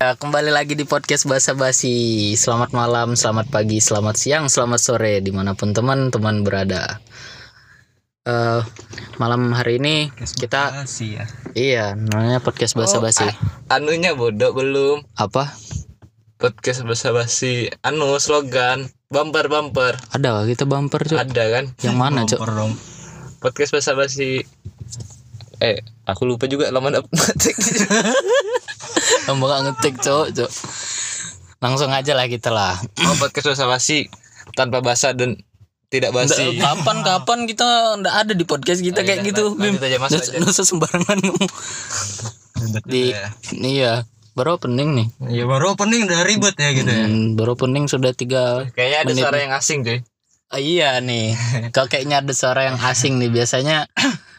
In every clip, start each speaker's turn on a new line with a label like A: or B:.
A: Ya, kembali lagi di podcast Bahasa Basi. Selamat malam, selamat pagi, selamat siang, selamat sore dimanapun teman-teman berada. Eh, malam hari ini kita
B: sih ya.
A: iya namanya podcast Bahasa Basi.
B: Anunya bodoh belum.
A: Apa?
B: Podcast bahasa basi. Anu slogan bumper bumper
A: Ada kita bumper Cuk?
B: ada kan.
A: Yang mana Cuk?
B: Podcast bahasa basi. Eh, aku lupa juga laman upmatik.
A: Yang bakal ngetik Cuk, Cuk. Langsung aja lah kita lah.
B: oh, podcast bahasa basi tanpa bahasa dan tidak basi.
A: Kapan-kapan kita ndak ada di podcast kita kayak gitu. Bim.
B: Lanjut aja masuk
A: Nggak usah- nggak usah sembarangan kamu. Di iya, baru opening nih.
C: Ya baru opening udah ribet ya gitu ya.
A: Hmm, baru opening sudah tiga
B: Kayaknya ada
A: Menit.
B: suara yang asing, cuy.
A: Oh, iya nih, kok kayaknya ada suara yang asing nih. Biasanya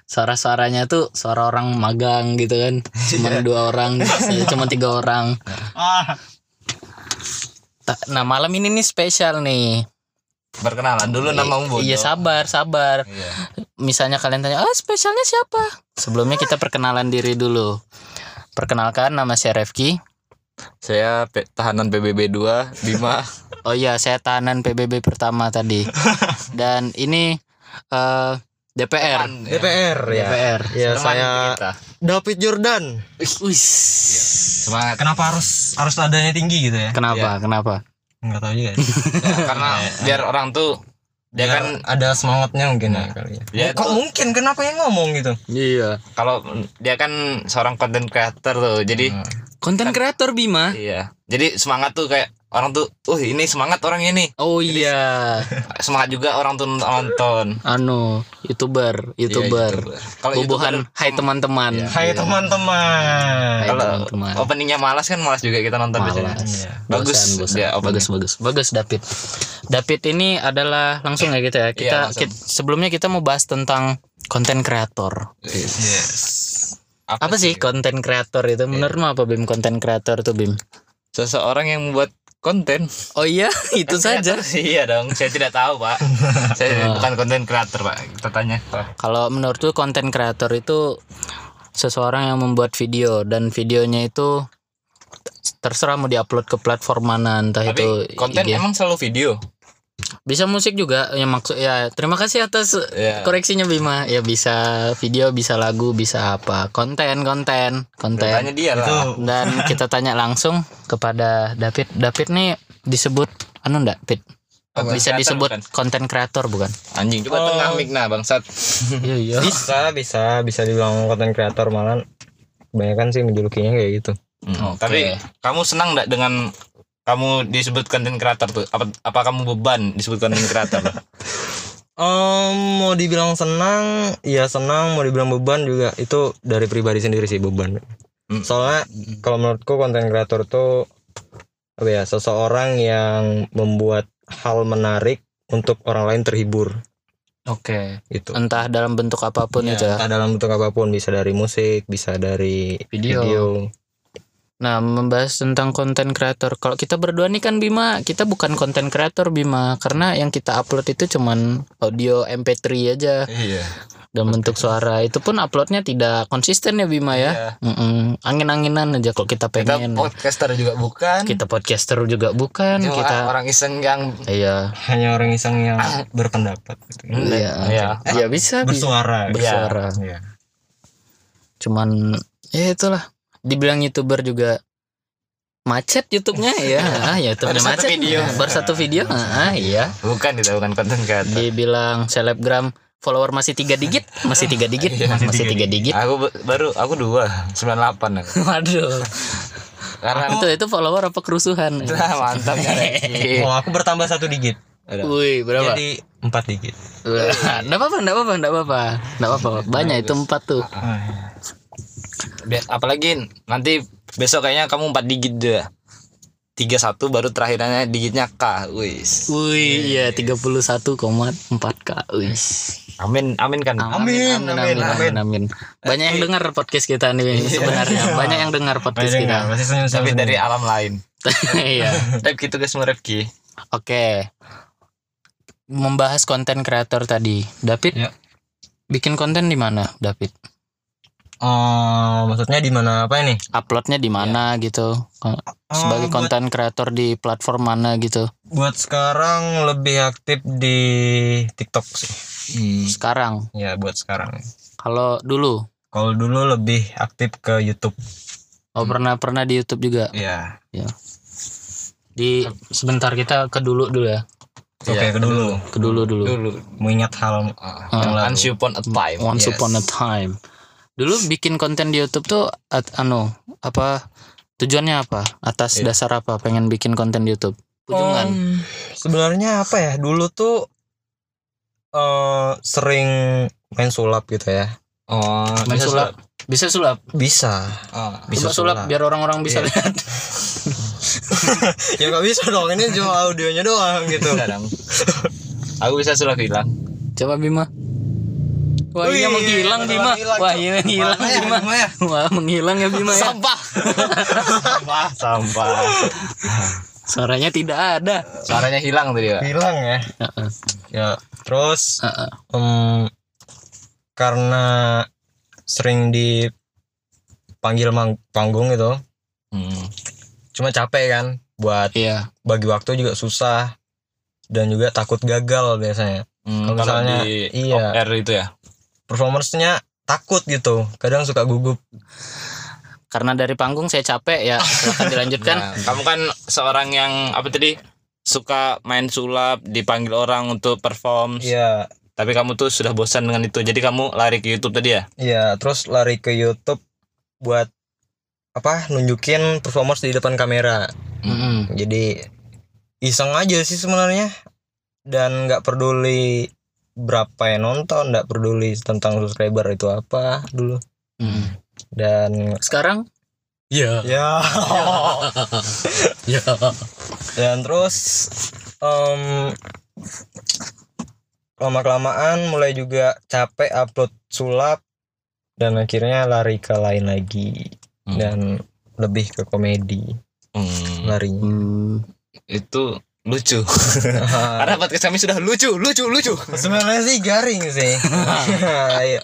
A: suara-suaranya tuh suara orang magang gitu kan. Cuma dua orang, biasanya cuma tiga orang.
C: Ah,
A: Ta- Nah malam ini nih spesial nih.
B: Perkenalan dulu namamu bodoh.
A: Iya sabar, sabar.
B: Iya.
A: Misalnya kalian tanya, ah spesialnya siapa? Sebelumnya kita perkenalan diri dulu. Perkenalkan nama saya Refki.
B: Saya pe- tahanan PBB 2 Bima.
A: Oh iya, saya tahanan PBB pertama tadi. Dan ini eh,
C: Iya.
A: DPR.
B: Kan,
C: DPR ya.
A: DPR.
C: Ya
B: Teman
C: saya
B: kita.
C: David Jordan.
A: Wis.
B: Semangat.
C: Ya, Kenapa harus harus nadanya tinggi gitu
B: Iya.
C: ya?
A: Kenapa? Kenapa?
C: Enggak tahu juga.
B: karena
A: Iya.
B: biar orang tuh dia kan
C: ada semangatnya mungkin ya kali ya.
B: dia
C: Kok
B: tuh-
C: mungkin kenapa yang ngomong gitu?
A: Iya.
B: kalau dia kan seorang content creator tuh jadi
A: Hmm. Konten
B: Kan-
A: kreator Bima.
B: iya jadi semangat tuh kayak orang tuh uh ini semangat orang ini
A: Oh iya.
B: semangat juga orang tuh nonton
A: Anu, YouTuber, YouTuber.
B: Iya, kalau kan,
A: Bobohan
B: youtuber Iya.
A: hai teman-teman.
C: Hai teman-teman.
A: Hai
B: kalau
A: teman-teman.
B: eh, openingnya malas kan malas juga kita nonton biasanya
A: Malas.
C: Iya.
B: bagus Ya,
A: Bosan, bosan.
B: dia opening.
A: bagus bagus bagus David David ini adalah langsung ya kita ya kita,
B: Iya, langsung.
A: kit- sebelumnya kita mau bahas tentang konten kreator Iya.
C: Yes.
A: apa sih
B: Iya.
A: konten kreator itu menurutmu apa bim konten kreator tuh bim
B: seseorang yang membuat konten
A: oh iya itu saja
B: iya dong saya tidak tahu pak
A: Ah.
B: saya bukan konten creator pak kita tanya
A: Kalau menurutku konten kreator itu seseorang yang membuat video dan videonya itu terserah mau diupload ke platform mana entah
B: tapi
A: itu
B: konten
A: IG.
B: emang selalu video
A: bisa musik juga ya maksud ya terima kasih atas
B: Iya.
A: koreksinya Bima ya bisa video bisa lagu bisa apa konten konten konten
B: tanya dia
C: Itu
B: lah
A: dan kita tanya langsung kepada David David nih disebut anu enggak David
B: Konten
A: bisa
B: creator
A: disebut
B: Oh, bukan?
A: konten kreator bukan
B: anjing
A: Oh.
B: coba tengah mic nah bangsat
A: iya iya
C: bisa bisa bisa dibilang konten kreator malah kebanyakan sih menjulukinya kayak gitu.
B: Hmm,
A: Oke.
B: Tapi kamu senang nggak dengan kamu disebut konten creator tuh? Apa, apa kamu beban disebut konten creator?
C: Em, mau dibilang senang, ya senang. Mau dibilang beban juga itu dari pribadi sendiri sih beban.
B: Hmm.
C: Soalnya kalau menurutku konten kreator tuh apa ya seseorang yang membuat hal menarik untuk orang lain terhibur
A: oke
C: gitu.
A: entah dalam bentuk apapun
B: Iya.
C: Ya,
A: itu ya
C: entah dalam bentuk apapun bisa dari musik, bisa dari
A: Video.
C: video.
A: Nah, membahas tentang konten kreator. Kalau kita berdua nih kan Bima, kita bukan konten kreator Bima karena yang kita upload itu cuman audio MP3 aja
B: iya.
A: dan bentuk suara. Itu pun uploadnya tidak konsisten ya Bima ya. Mm-mm. Angin-anginan aja kalau kita
B: Iya. Kita
A: pengen. Kita,
B: podcaster juga bukan.
A: podcaster juga bukan,
B: Cuma
A: kita
B: orang iseng yang
A: iya.
C: Hanya orang iseng yang berpendapat gitu.
A: Iya.
B: Iya.
A: Ya bisa bisa
C: Bersuara.
B: Iya.
A: bersuara.
C: Iya.
A: Cuman ya itulah. Dibilang YouTuber juga macet YouTube-nya ya. Ah, ya YouTube-nya
B: Baru satu
A: macet.
B: video.
A: Baru satu video. Ah, iya.
B: bukan kita bukan konten creator.
A: dibilang selebgram follower masih tiga digit masih tiga digit Iya, masih tiga digit
B: Aku ba- baru aku dua sembilan delapan
A: waduh
B: karena
A: itu itu follower apa kerusuhan
B: Nah, mantap ya. Reki.
C: Oh, aku bertambah satu digit.
B: Udah.
A: Wih berapa
C: Jadi empat digit.
A: Nggak apa-apa nggak apa-apa nggak apa-apa Nggak apa-apa banyak itu empat tuh
B: Biar- Apalagi nanti besok kayaknya kamu empat digit deh. Tiga satu baru terakhirannya digitnya K. Wis.
A: Wih iya 31,4 k Wih
B: Amin amin kan.
A: amin amin amin amin banyak yang dengar podcast kita nih sebenarnya banyak yang dengar podcast kita
C: Masih senyum
B: Tapi dari alam lain.
A: iya
B: Rep gitu guys mau Refki
A: Oke. Membahas Iya. konten kreator tadi. David
C: Ya.
A: bikin konten di mana, David?
C: Oh, maksudnya di mana apa ini?
A: uploadnya di mana gitu sebagai
C: Iya. Oh, buat-
A: konten kreator di platform mana gitu
C: buat sekarang lebih aktif di TikTok sih.
B: Hmm.
A: sekarang
C: Ya buat sekarang.
A: kalau dulu
C: Kalau dulu lebih aktif ke YouTube.
A: oh
C: Hmm.
A: pernah pernah di YouTube juga
C: Ya.
A: di sebentar kita ke dulu dulu ya
C: Oke,
B: Iya,
C: ke dulu.
A: ke dulu dulu
B: dulu Ah,
C: Mengingat hal yang lalu.
B: once upon a time
A: once
C: Yes.
A: upon a time dulu bikin konten di YouTube tuh at, anu apa tujuannya apa atas
C: Iya.
A: dasar apa pengen bikin konten di YouTube kunjungan
C: Um, sebenarnya apa ya? Dulu tuh eh sering main sulap gitu ya.
B: oh
A: Main
B: bisa
A: sulap. bisa sulap
C: Bisa.
B: Oh.
C: Bisa
A: Coba sulap,
C: sulap.
A: biar orang-orang bisa
C: Iya.
A: lihat
C: ya nggak bisa dong. Ini cuma audionya doang gitu.
B: Bisa dong. aku bisa sulap hilang
A: coba Bima Wah iya
C: Wih,
A: menghilang Bima
C: beneran hilang,
A: Wah
C: Cok.
A: iya menghilang
C: Mana ya,
A: Bima
C: Bima ya?
A: Wah menghilang ya Bima ya
B: sampah sampah sampah
A: Suaranya tidak ada
B: suaranya hilang tadi pak
C: Hilang ya.
A: Heeh,
C: Ya. Terus
A: heeh.
C: Em, karena sering dipanggil mang- panggung itu
B: Hmm.
C: cuma capek kan buat
A: Iya
C: bagi waktu juga susah dan juga takut gagal biasanya
B: Hmm,
C: Kalau
B: kalau
C: misalnya-
B: di
C: iya.
B: off air itu ya
C: performersnya takut gitu kadang suka gugup
A: Karena dari panggung saya capek ya Silahkan dilanjutkan
B: Nah, kamu kan seorang yang apa tadi suka main sulap dipanggil orang untuk perform
C: iya
B: tapi kamu tuh sudah bosan dengan itu jadi kamu lari ke YouTube tadi ya
C: iya terus lari ke YouTube buat apa nunjukin performers di depan kamera
A: Mm-mm.
C: jadi iseng aja sih sebenarnya dan nggak peduli berapa yang nonton nggak peduli tentang subscriber itu apa dulu
A: Mm-mm.
C: dan
A: Sekarang Iya
C: ya
A: Iya
C: dan terus em lama kelamaan mulai juga capek upload sulap dan akhirnya lari ke lain lagi
B: Hmm.
C: dan lebih ke komedi
B: Hmm,
C: larinya
A: Mm.
B: itu lucu karena podcast kami sudah lucu lucu lucu
C: sebenarnya sih garing sih Iya.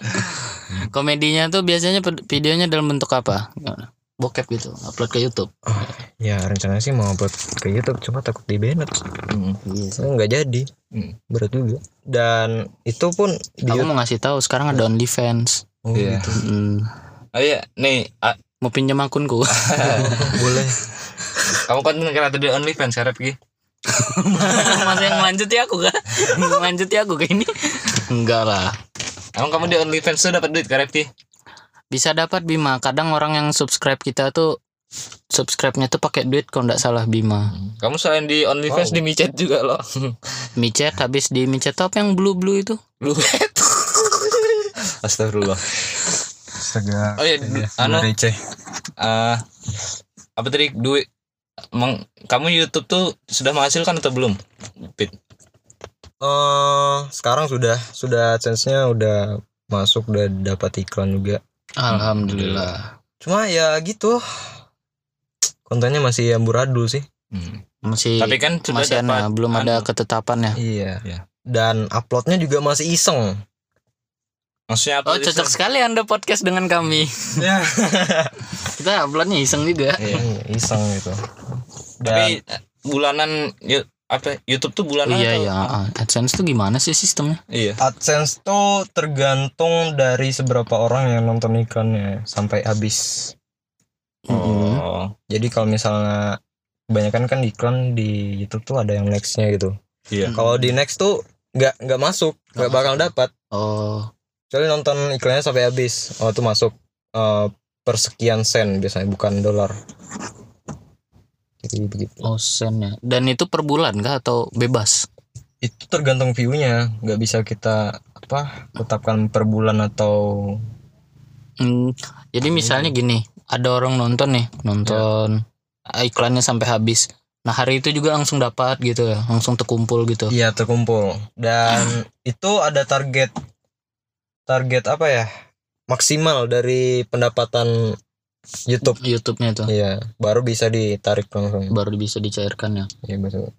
A: Komedinya tuh biasanya ped- videonya dalam bentuk apa? Bokep gitu Upload ke Youtube
C: Ya rencananya sih mau buat ke YouTube cuma takut di banned
B: Hmm.
A: Iya
C: Saya nggak jadi
B: Hmm.
C: Berat juga Dan itu pun di
A: Aku
C: YouTube
A: mau ngasih tahu sekarang ada OnlyFans
C: Oh,
B: Iya.
C: gitu.
A: Mm.
B: oh iya nih ah,
A: Mau pinjam akunku
C: Boleh
B: kamu konten kreator di OnlyFans sekarang pergi
A: Masa yang melanjuti aku kan? melanjuti aku ke ini? Enggak lah.
B: emang kamu di OnlyFans tuh dapat duit karep Ki?
A: Bisa dapat Bima. Kadang orang yang subscribe kita tuh subscribe-nya tuh pakai duit kalau nggak salah Bima.
B: kamu selain di OnlyFans
C: Wow.
B: di micet juga loh
A: Micet habis di micet tuh apa yang blue-blue itu?
B: lu astagfirullah
C: Astaga
B: oh iya anu
C: receh
B: eh apa tadi duit meng, kamu YouTube tuh sudah menghasilkan atau belum? Pit.
C: Eh, Sekarang sudah Sudah chance-nya udah Masuk udah dapat iklan juga
A: Alhamdulillah.
C: Cuma ya gitu Kontennya masih amburadul sih
B: Hmm.
A: Masih
B: Tapi kan sudah
A: masih
B: dapat
A: anu, belum ada
B: anu.
A: ketetapan ya.
C: Iya
B: Iya.
C: Dan uploadnya juga masih iseng
B: Maksudnya
A: Oh
B: apa?
A: cocok sekali anda podcast dengan kami
C: Ya
A: Kita uploadnya iseng juga
B: Iya.
C: Iseng gitu Dan
B: Tapi eh, bulanan yu- apa YouTube tuh bulanan
A: Iya
B: atau-
A: ya AdSense tuh gimana sih sistemnya?
B: Iya.
C: AdSense tuh tergantung dari seberapa orang yang nonton iklannya sampai habis.
A: Mm-mm.
B: Oh.
C: Jadi kalau misalnya kebanyakan kan iklan di YouTube tuh ada yang nextnya gitu.
A: Ya,
B: Iya.
C: Kalau di next tuh nggak nggak masuk, nggak bakal dapat.
A: Oh
C: Kecuali nonton iklannya sampai habis, oh tuh masuk eh, persekian sen biasanya bukan dolar. Jadi begitu.
A: Oh sen ya. Dan itu per bulan kah atau bebas?
C: Itu tergantung view-nya, nggak bisa kita apa tetapkan per bulan atau
A: Hmm, jadi misalnya gini, ada orang nonton nih, nonton iklannya sampai habis. Nah hari itu juga langsung dapat gitu ya, langsung terkumpul gitu.
C: Iya terkumpul dan itu ada target target apa ya maksimal dari pendapatan YouTube.
A: YouTube-nya tuh
C: Iya baru bisa ditarik langsung.
A: baru bisa dicairkan ya.
C: Iya betul.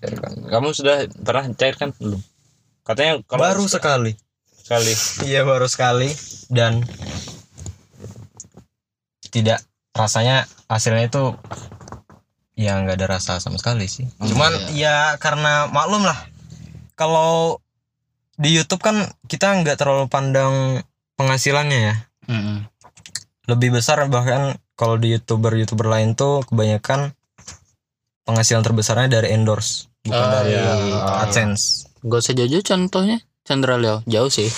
C: Cairkan.
B: Kamu sudah pernah cairkan belum? Katanya kalau
C: Baru sekali.
B: sekali.
C: Iya baru sekali dan tidak rasanya hasilnya itu ya nggak ada rasa sama sekali sih
B: Hmm,
C: cuman ya karena maklum lah kalau di YouTube kan kita nggak terlalu pandang penghasilannya ya
A: Mm-mm.
C: lebih besar bahkan kalau di youtuber youtuber lain tuh kebanyakan penghasilan terbesarnya dari endorse bukan
A: Ah,
C: dari
A: iya.
C: adsense
A: Gak usah jauh-jauh contohnya Chandra Leo jauh sih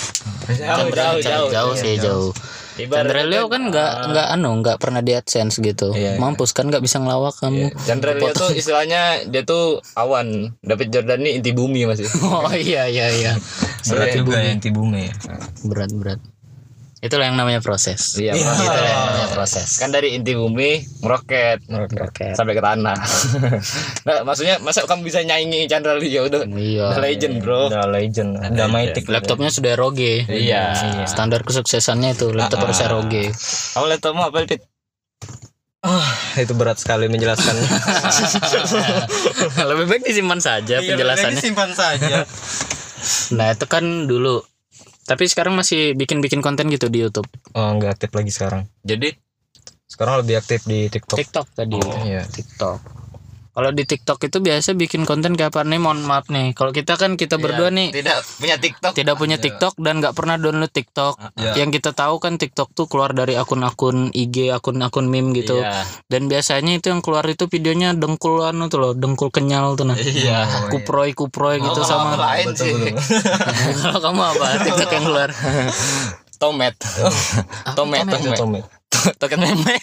B: Jauh, jauh, jauh.
A: sih
C: Iya,
A: jauh Chandra Leo kan nggak nggak anu nggak pernah di adsense gitu
C: Iya, iya.
A: mampus kan nggak bisa ngelawak kamu
B: Chandra Leo
A: Kepotong.
B: tuh istilahnya dia tuh awan. David Jordan ini inti bumi masih.
A: oh iya iya iya
C: berat
B: Iya,
C: juga ya inti bunga ya
A: berat berat itulah yang namanya proses
B: Iya.
C: Iya.
B: Bang.
A: itulah yang namanya proses
B: Kan dari inti bumi meroket
A: Roket.
B: sampai ke tanah. nah, maksudnya masa kamu bisa nyaingi Chandra Leo udah,
A: iya
B: udah legend, Bro.
C: udah legend udah mythic
A: laptopnya sudah ROG
B: Iya.
A: standar kesuksesannya itu laptop
B: Ah, ah.
A: harus ROG
B: Kamu lihat kamu apa Dit?
C: itu berat sekali menjelaskannya
A: lebih baik disimpan saja penjelasannya
C: Iya, simpan saja
A: nah itu kan dulu tapi sekarang masih bikin-bikin konten gitu di YouTube
C: oh nggak aktif lagi sekarang
B: Jadi
C: sekarang lebih aktif di tiktok
A: TikTok tadi
C: Iya.
A: TikTok kalau di TikTok itu biasa bikin konten kapan nih mohon maaf nih kalau kita kan kita berdua nih
B: tidak punya Iya, TikTok. Iya. Ah,
A: tidak punya TikTok dan nggak pernah download TikTok. Yang kita tahu kan TikTok tuh keluar dari akun-akun IG, akun-akun meme gitu.
B: Iya.
A: Dan biasanya itu yang keluar itu videonya dengkul anu tuh loh, dengkul kenyal tuh nah.
B: Iya.
A: Kuproy kuproy gitu
B: Oh,
A: sama.
B: lain sih.
A: Kalau kamu apa TikTok yang keluar?
B: Tomet. Tomet,
A: Tomat.
B: tomet.
C: Tomat.
B: Toket meme.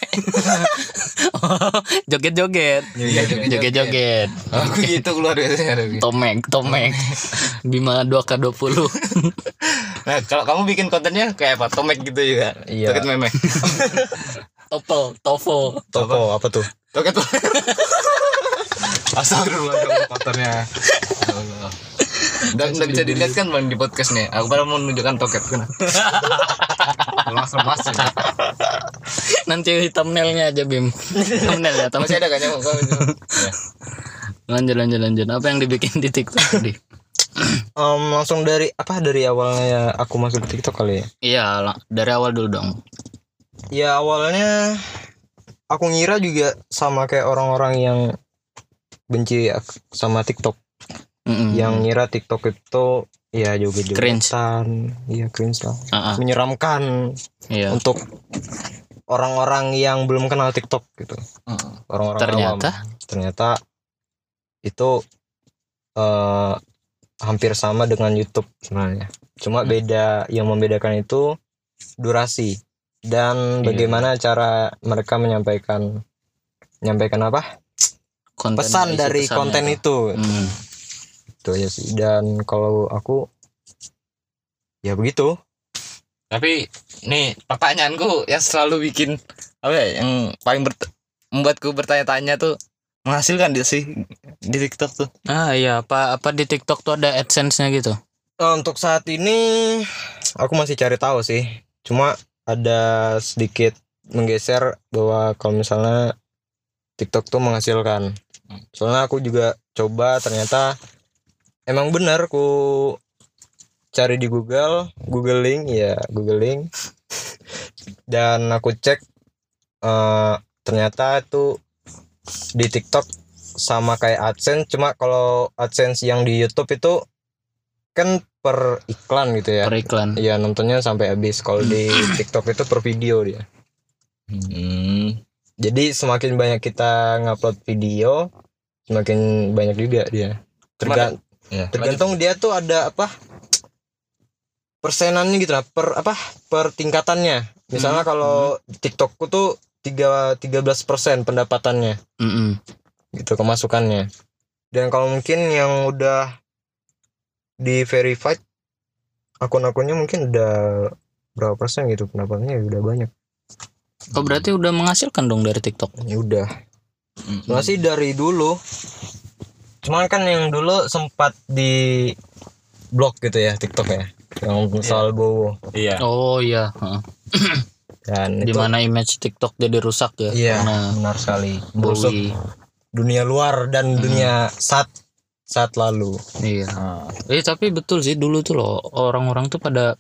A: Oh, Joget-joget.
B: Iya, joget-joget.
A: Joget-joget.
B: Aku gitu keluar biasanya. Robi.
A: Tomek, Tomek. Bima 2K20.
B: Nah, kalau kamu bikin kontennya kayak apa? Tomek gitu juga.
C: Iya.
B: Toket meme.
A: Topel, Tovo.
C: Toko apa tuh?
B: Toket. Astagfirullah kamu kontennya. Dan udah bisa dilihat kan bang di podcastnya. Aku baru mau menunjukkan toket kan. Lemas-lemas. ya.
A: Nanti thumbnailnya aja Bim. Thumbnail ya, thumbnail.
B: Masih ada kan yang kamu itu? Ya.
A: Lanjut lanjut lanjut. Apa yang dibikin di TikTok tadi?
C: Em, langsung dari apa dari awalnya aku masuk ke TikTok kali ya?
A: Iya, la- dari awal dulu dong.
C: Ya awalnya aku ngira juga sama kayak orang-orang yang benci ak- sama TikTok,
A: Mm-mm.
C: yang ngira TikTok itu ya joget
A: Cringe.
C: jogetan, iya cringe lah,
A: Ah, ah,
C: menyeramkan
A: iya.
C: untuk orang-orang yang belum kenal TikTok gitu,
B: Heeh.
C: orang-orang
A: Hmm. Ternyata
C: awam. ternyata itu eh hampir sama dengan YouTube sebenarnya.
A: Hmm.
C: Cuma beda yang membedakan itu durasi dan
B: Iya.
C: bagaimana cara mereka menyampaikan menyampaikan apa?
A: konten isi
C: pesan dari
A: pesannya.
C: konten itu.
A: Hmm.
C: Itu aja sih. Dan kalau aku ya begitu.
B: Tapi nih pertanyaanku yang selalu bikin apa ya yang paling bert- membuatku bertanya-tanya tuh menghasilkan dia sih di TikTok tuh.
A: Ah iya, apa apa di TikTok tuh ada AdSense-nya gitu.
C: Eh, Untuk saat ini aku masih cari tahu sih. Cuma ada sedikit menggeser bahwa kalau misalnya TikTok tuh menghasilkan. Soalnya aku juga coba ternyata emang benar ku cari di Google, googling ya, googling. Dan aku cek eh, ternyata itu di TikTok sama kayak AdSense, cuma kalau AdSense yang di YouTube itu kan per iklan gitu ya.
A: Periklan.
C: Iya nontonnya sampai habis. Kalau di TikTok itu per video dia.
B: Hmm.
C: Jadi semakin banyak kita ngupload video, semakin banyak juga dia. Terga-
B: Ya.
C: tergantung dia tuh ada apa persenannya gitu lah, per apa per tingkatannya. Misalnya kalau TikTokku tuh tiga 13% pendapatannya
A: Mm-mm.
C: gitu kemasukannya. Dan kalau mungkin yang udah di verified akun-akunnya mungkin udah berapa persen gitu pendapatannya ya udah banyak.
A: Oh berarti udah menghasilkan dong dari TikTok.
C: Ya udah. Sebenarnya sih dari dulu. Cuman kan yang dulu sempat di blog gitu ya TikTok ya. Yang soal Bowo.
B: Iya.
A: Oh iya, heeh.
C: Dan
A: di
C: Ya. itu
A: mana image TikTok jadi rusak ya
C: Iya.
A: karena
C: benar sekali. Busuk
A: Bowie. Mm.
C: dunia luar dan dunia saat saat lalu.
A: Iya. Eh tapi betul sih dulu tuh loh orang-orang tuh pada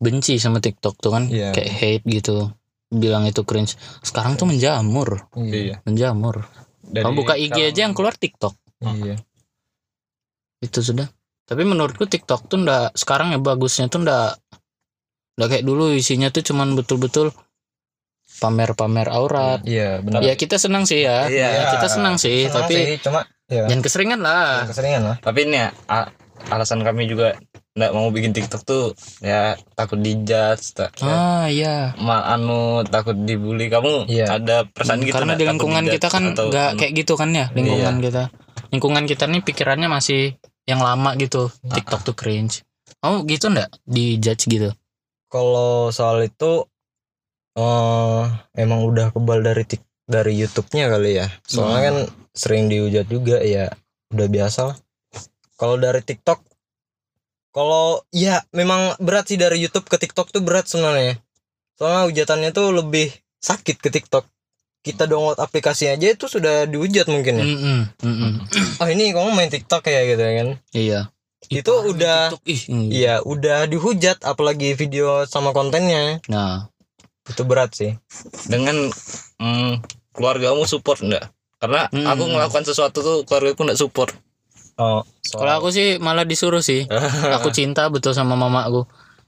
A: benci sama TikTok tuh kan
C: Iya.
A: kayak hate gitu. bilang itu cringe. Sekarang tuh menjamur,
B: Iya.
A: menjamur. Kamu buka IG aja yang keluar TikTok.
C: Iya.
A: Itu sudah. Tapi menurutku TikTok tuh ndak sekarang ya bagusnya tuh ndak ndak kayak dulu isinya tuh cuman betul-betul pamer-pamer aurat.
C: Iya, benar.
A: Ya kita senang sih ya.
B: Iya.
A: Ya, kita senang sih,
C: Senang
A: tapi Ah.
C: sih, cuma ya
A: jangan keseringan lah.
C: keseringan lah.
B: Tapi ini ya a- alasan kami juga nggak mau bikin TikTok tuh ya takut dijudge, tak, ya,
A: Ah iya.
B: ma- anu takut dibully. Kamu
C: Iya.
B: ada perasaan gitu
A: Hmm, Karena
B: nggak
A: di
B: takut
A: lingkungan
B: dijudge
A: kita kan
B: atau- hmm. Iya.
A: nggak kayak gitu kan ya lingkungan kita. Lingkungan kita nih pikirannya masih yang lama gitu.
B: Ah.
A: TikTok tuh cringe. Kamu gitu ndak di judge gitu?
C: Kalau soal itu eh emang udah kebal dari tik dari YouTube-nya kali ya. Soalnya
A: Hmm.
C: kan sering dihujat juga ya, udah biasa lah. Kalau dari TikTok kalau ya memang berat sih dari YouTube ke TikTok tuh berat sebenarnya. Soalnya hujatannya tuh lebih sakit ke TikTok. Kita download aplikasi aja itu sudah dihujat
B: Iya.
C: mungkin ya.
A: Mm-mm, mm-mm.
C: Oh ini kamu main TikTok ya gitu ya kan.
A: Hmm. Iya.
C: Itu
A: Ih, parah
C: udah-
A: nih TikTok, ih, mm.
C: Iya, udah dihujat apalagi video sama kontennya.
A: Nah,
C: Itu berat sih.
B: dengan mm, keluargamu support enggak? Karena
A: Hmm.
B: aku melakukan sesuatu tuh keluargaku enggak support.
C: Oh,
A: kalau aku sih malah disuruh sih. aku cinta betul sama mamaku.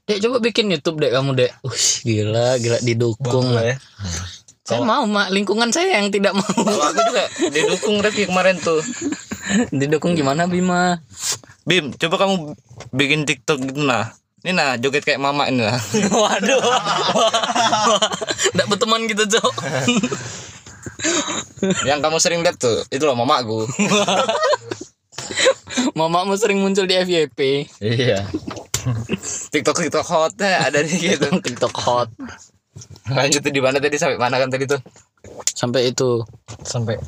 A: Dek coba bikin YouTube dek kamu dek. Ush, gila, gila didukung.
C: Bangga ya.
A: Saya mau mak, lingkungan saya yang tidak mau.
B: Kalau aku juga didukung Revi kemarin tuh.
A: didukung gimana Bima?
B: Bim, coba kamu bikin TikTok gitu nah. Ini nah joget kayak mama ini lah.
A: Waduh. Enggak berteman gitu, Cok.
B: Yang kamu sering lihat tuh, itu loh mamaku.
A: Mamamu sering muncul di FYP.
B: iya. TikTok TikTok hotnya ada di gitu.
A: TikTok hot
B: Lanjut tuh di mana tadi sampai mana kan tadi tuh?
A: sampai itu
C: sampai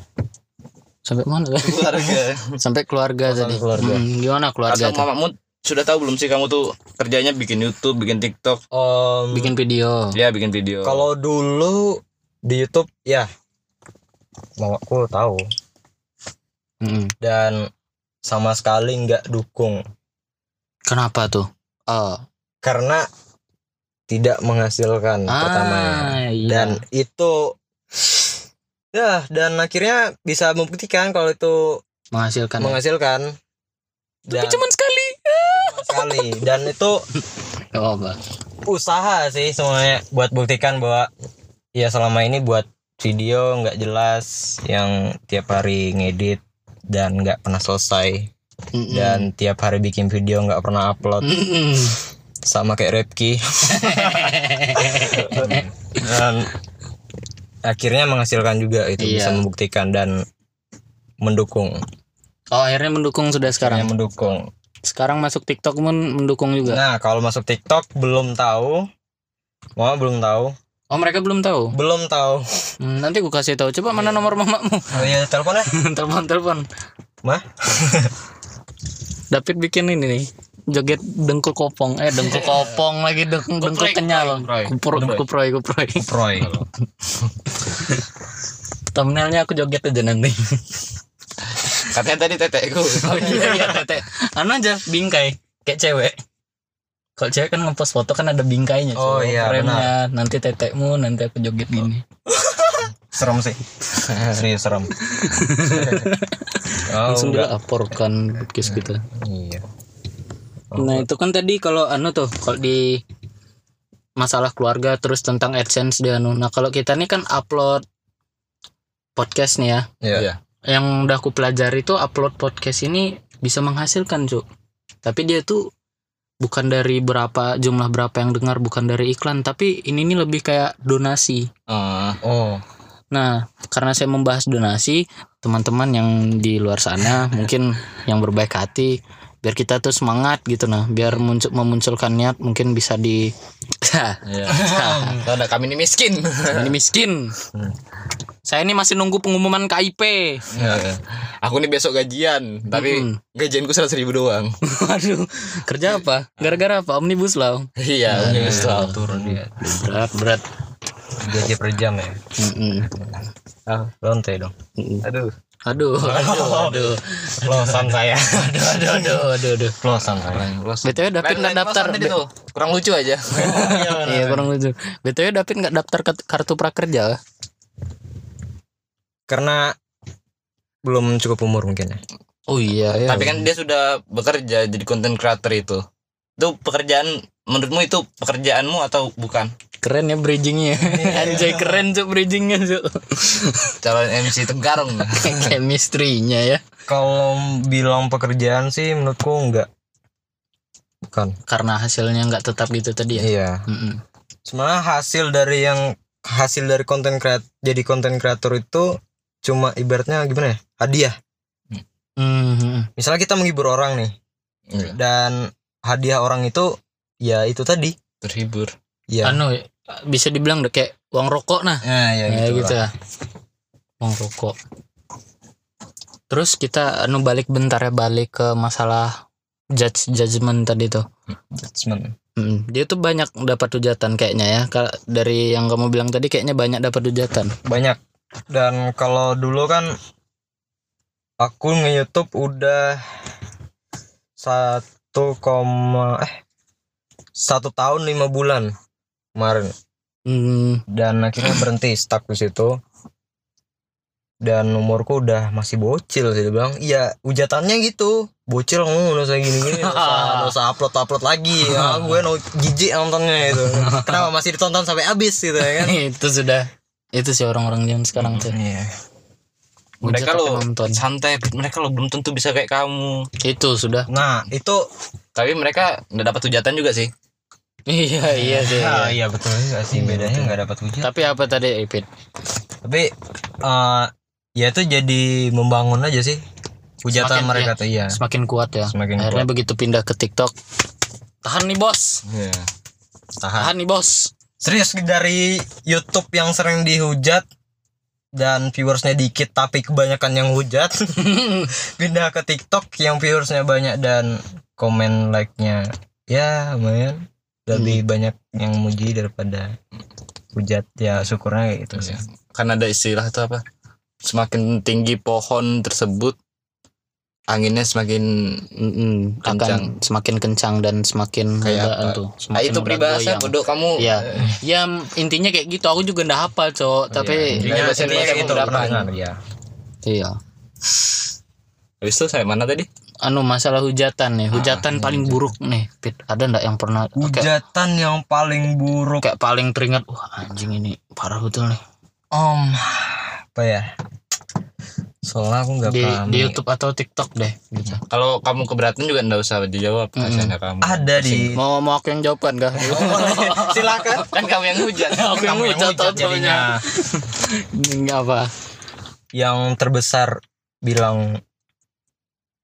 A: sampai mana
B: Keluarga.
A: sampai keluarga tadi
C: keluarga.
A: Mm, gimana keluarga
B: Atau
A: tuh?
B: mamamu sudah tahu belum sih kamu tuh kerjanya bikin YouTube, bikin TikTok,
C: Om,
A: bikin video
B: ya bikin video.
C: kalau dulu di YouTube ya mau aku tahu
A: Mm.
C: dan sama sekali nggak dukung
A: kenapa tuh oh
C: karena tidak menghasilkan pertama ya.
A: Ah, iya.
C: dan itu ya dan akhirnya bisa membuktikan kalau itu
A: menghasilkan
C: menghasilkan dan
A: Iya. tapi cuma sekali Oh,
C: sama sekali dan itu
A: Gak apa-apa.
C: usaha sih semuanya buat buktikan bahwa ya selama ini buat video nggak jelas yang tiap hari ngedit dan nggak pernah selesai
A: Mm-mm.
C: dan tiap hari bikin video nggak pernah upload
A: Mm-mm.
C: sama kayak Repki dan akhirnya menghasilkan juga itu
A: Iya.
C: bisa membuktikan dan mendukung
A: oh akhirnya mendukung sudah
C: yang
A: sekarang
C: mendukung
A: sekarang masuk TikTok pun mendukung juga
C: nah kalau masuk TikTok belum tahu Mama belum tahu
A: oh mereka belum tahu
C: belum tahu
A: Hmm, nanti gue kasih tahu coba mana nomor mamamu
C: oh iya teleponnya
A: telepon telepon
C: mah
A: David bikin ini nih joget dengkul kopong eh dengkul kopong lagi deng- dengkul kenyal kupro kuproy kuproy
C: Proy
A: thumbnailnya aku joget aja nanti
B: Katanya tadi tetekku.
A: oh iya iya tete anu aja bingkai kayak cewek kalau cewek kan ngepost foto kan ada bingkainya cowok.
C: Oh, iya,
A: Remnya, nanti tetekmu nanti aku joget gini
C: serem sih serius serem oh,
A: langsung
C: enggak.
A: dilaporkan podcast kita
C: iya
A: nah itu kan tadi kalau anu tuh kalau di masalah keluarga terus tentang adsense dia anu nah kalau kita nih kan upload podcast nih ya
C: Iya.
B: Iya.
A: yang udah aku pelajari tuh upload podcast ini bisa menghasilkan cuk tapi dia tuh bukan dari berapa jumlah berapa yang dengar bukan dari iklan tapi ini nih lebih kayak donasi
B: Eh,
C: oh
A: nah karena saya membahas donasi teman-teman yang di luar sana mungkin yang berbaik hati biar kita tuh semangat gitu nah biar muncul memunculkan niat mungkin bisa di
B: Iya. Tanda kami ini miskin.
A: ini miskin saya ini masih nunggu pengumuman KIP
B: Aku nih besok gajian, tapi
A: Mm-mm.
B: gajianku seratus ribu doang.
A: waduh kerja apa gara-gara apa omnibus law
B: Iya, Omnibus Law.
C: turun dia
A: berat berat
C: gaji per jam ya
A: Mm-mm.
C: ah lonte dong
A: Mm-mm.
B: Aduh,
A: Aduh, aduh, aduh,
C: Losan saya.
A: aduh, aduh, aduh, aduh, aduh.
C: Losan saya.
B: Lain-lain
A: BTW David nggak daftar.
B: kosan tadi tuh, kurang lucu aja
A: Iya kurang lucu. BTW David nggak daftar ke kartu prakerja.
C: Karena belum cukup umur mungkin ya.
A: Oh iya, iya.
B: tapi kan dia sudah bekerja jadi content creator itu itu pekerjaan menurutmu itu pekerjaanmu atau bukan
A: keren ya
B: Iya,
A: bridgingnya. Anjay keren cuk bridgingnya cuk.
B: calon MC Tenggarong
A: Chemistry-nya ya.
C: Kalau bilang pekerjaan sih menurutku enggak. Bukan.
A: Karena hasilnya nggak tetap gitu tadi ya.
C: Iya.
A: Mm-mm.
C: Sebenarnya hasil dari yang hasil dari konten kreat jadi konten kreator itu cuma ibaratnya gimana ya? Hadiah.
A: Mhm.
C: Misalnya kita menghibur orang nih
B: Iya.
C: dan hadiah orang itu ya itu tadi.
B: terhibur
C: Ya.
A: Anu bisa dibilang deh kayak uang rokok nah.
C: Nah, ya,
A: Ya,
C: gitu.
A: gitu ya.
C: lah.
A: Uang rokok. Terus kita anu balik bentar ya balik ke masalah judge judgement tadi tuh.
B: judgment
A: Mm, dia tuh banyak dapat hujatan kayaknya ya. Ka- Dari yang kamu bilang tadi kayaknya banyak dapat hujatan.
C: Banyak. Dan kalau dulu kan aku nge-YouTube udah satu koma eh satu tahun lima bulan kemarin
A: Hmm,
C: dan akhirnya berhenti stuck di situ dan umurku udah masih bocil sih dia bilang iya ujatannya gitu bocil ngono saya gini gini dosa upload upload lagi ya gue no jijik nontonnya itu kenapa masih ditonton sampai habis gitu ya kan
A: itu sudah itu sih orang-orang yang sekarang
C: Hmm.
A: tuh.
B: Iya.
A: Hujat
B: Mereka
A: tapi
B: lo-
A: nonton.
B: santai mereka lo belum tentu bisa kayak kamu
A: Itu sudah.
C: nah itu
B: tapi mereka nggak dapat hujatan juga sih
A: Iya iya sih.
C: Ah, iya betul juga sih bedanya nggak dapat wujud
A: Tapi apa tadi Ipit?
C: tapi eh, ya itu jadi membangun aja sih hujatan
A: Semakin-
C: mereka tuh iya
A: Semakin kuat ya.
C: semakin
A: Akhirnya begitu pindah ke TikTok. Tahan nih bos.
C: kuat. Iya. tahan
A: Tahan nih bos.
C: serius dari YouTube yang sering dihujat dan viewersnya dikit tapi kebanyakan yang hujat pindah ke TikTok yang viewersnya banyak dan komen like-nya ya lumayan lebih banyak yang muji daripada hujat ya syukurnya kayak gitu sih
B: kan ada istilah itu apa semakin tinggi pohon tersebut anginnya semakin
A: Mm-mm,
B: Kencang.
A: akan semakin kencang dan semakin
B: Kayak
A: godaan
B: apa?
A: tuh.
B: ah,
A: Semakin
B: itu
A: mudah
B: peribahasa
A: goyang.
B: bodoh kamu
A: Ya, ya intinya kayak gitu. Aku juga ndak hafal, cowok. Tapi ya,
B: Iya,
C: Intinya-
B: bahasa
C: intinya kayak
B: Indonesia
C: gitu
B: berapa?
C: pernah dengar, ya
A: iya.
B: habis itu sampai mana tadi
A: Anu masalah hujatan nih, hujatan paling buruk nih. Pit, ada ndak yang pernah kayak,
C: hujatan yang paling buruk
A: kayak paling teringat, wah anjing ini parah betul nih.
C: om apa ya soalnya aku nggak
A: Di,
C: paham
A: di YouTube atau TikTok deh gitu.
B: kalau kamu keberatan juga nggak usah dijawab kasihannya kamu
C: ada di
A: Mau mau aku yang jawaban kah?
C: silakan
B: kan kamu yang hujat
A: aku yang
C: Kamu yang
A: hujat
C: hujat
A: jadinya.
C: jadinya.
A: Enggak apa.
C: yang terbesar bilang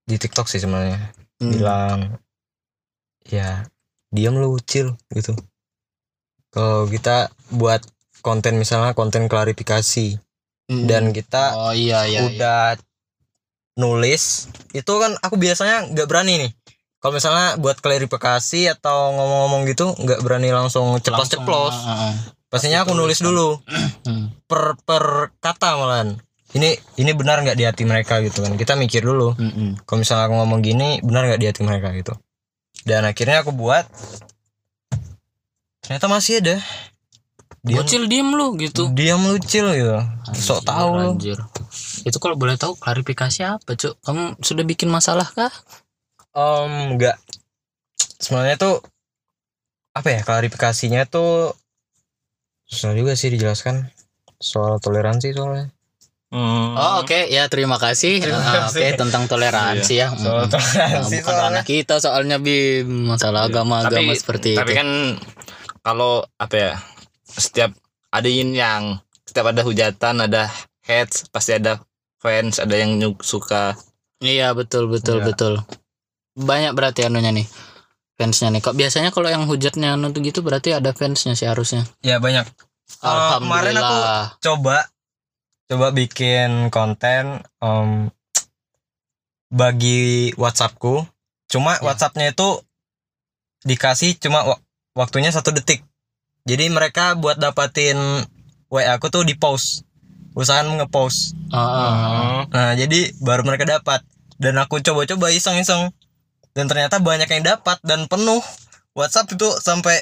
C: di TikTok sih sebenarnya
A: Hmm.
C: bilang ya diam lu ucil gitu kalau kita buat konten misalnya konten klarifikasi
A: Mm-mm.
C: dan kita
A: Hmm. oh iya iya. iya.
C: udah nulis itu kan aku biasanya nggak berani nih kalau misalnya buat klarifikasi atau ngomong-ngomong gitu nggak berani langsung
A: Langsung, ah,
C: ceplos-ceplos
A: heeh.
C: pastinya aku nulis dulu
A: Hmm.
C: per per kata malahan ini ini benar nggak di hati mereka gitu kan kita mikir dulu
A: Mm-mm.
C: kalau misalnya aku ngomong gini benar nggak di hati mereka gitu dan akhirnya aku buat ternyata masih ada diam
A: Bocil diem lu gitu.
C: diam lucil gitu
A: Anjir,
C: sok tahu lu.
A: anjir. Itu kalau boleh tahu klarifikasi apa, Cuk? Kamu sudah bikin masalah kah?
C: Om enggak. Sebenarnya tuh apa ya klarifikasinya tuh susah juga sih dijelaskan soal toleransi soalnya.
B: Hmm.
A: Oh, oke. Ya, terima kasih. Ah, oke, tentang toleransi ya.
C: Iya.
A: Mm-mm. Nah,
C: Soal toleransi Iya.
A: bukan ranah kita soalnya Bim, masalah agama-agama seperti
B: Iya. tapi
A: itu.
B: kan kalau apa ya setiap ada yin yang setiap ada hujatan ada heads pasti ada fans ada yang nyuk- suka
A: Iya, betul betul
C: Iya.
A: betul. Banyak berarti anunya nih. Fansnya nih. Kok biasanya kalau yang hujatnya anu tuh gitu berarti ada fansnya sih harusnya.
C: Ya banyak. Ah, kemarin aku
A: Alhamdulillah.
C: Coba coba bikin konten om bagi WhatsAppku. Cuma
A: Ya.
C: WhatsAppnya itu dikasih cuma wa- waktunya satu detik. Jadi mereka buat dapatin WA aku tuh di pause. usahakan ngepost
A: Ah, ah, ah.
C: nah jadi baru mereka dapat dan aku coba-coba iseng-iseng dan ternyata banyak yang dapat dan penuh WhatsApp itu sampai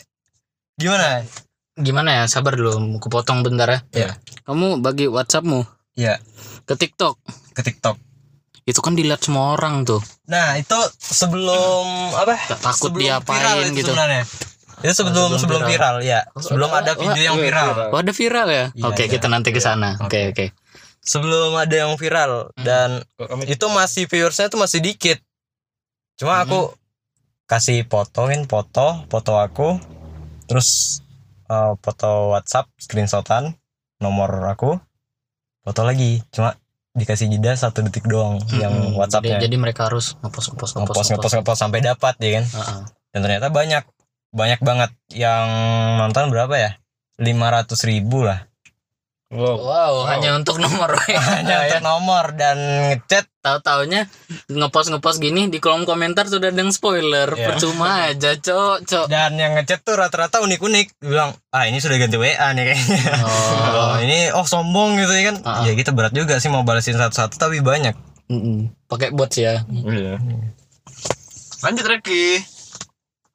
C: gimana
A: gimana ya sabar dulu aku potong bentar ya
C: Iya.
A: kamu bagi WhatsAppmu
C: Iya.
A: ke TikTok
C: ke TikTok
A: itu kan dilihat semua orang tuh
C: nah itu sebelum apa
A: Gak takut
C: Eh, sebelum
A: diapain
C: viral itu
A: gitu
C: sebenarnya itu sebelum
A: sebelum
C: sebelum
A: viral.
C: viral, ya sebelum ada video
B: Iya,
C: yang viral
A: Oh, ada viral ya?
C: Iya,
A: Oke,
C: iya.
A: kita nanti ke sana. Oke,
C: Oke.
A: oke.
C: sebelum ada yang viral dan itu masih viewersnya tuh masih dikit cuma aku kasih fotoin foto foto aku terus eh, foto WhatsApp screenshotan nomor aku foto lagi cuma dikasih jeda satu detik doang yang
A: Mm-mm. Jadi, Hmm,
C: WhatsAppnya
A: jadi mereka harus ngepost ngepost ngepost Ah,
C: ngepost ngepost ngepost sampai dapat ya kan
A: Heeh.
C: dan ternyata banyak banyak banget yang nonton berapa ya 500 ribu lah
A: Wow, Ah, hanya untuk nomor. ya.
C: hanya untuk nomor dan ngechat
A: Tahu-taunya ngepost ngepost gini di kolom komentar sudah ada yang spoiler.
C: Iya.
A: Percuma aja, cok, cok.
C: dan yang ngechat tuh rata-rata unik-unik bilang ah ini sudah ganti WA nih kayaknya
A: Oh.
C: oh. ini oh sombong gitu ya kan
A: Ah.
C: ya kita berat juga sih mau balesin satu-satu tapi banyak
A: Mm-mm. Pakai bots ya.
B: lanjut Reki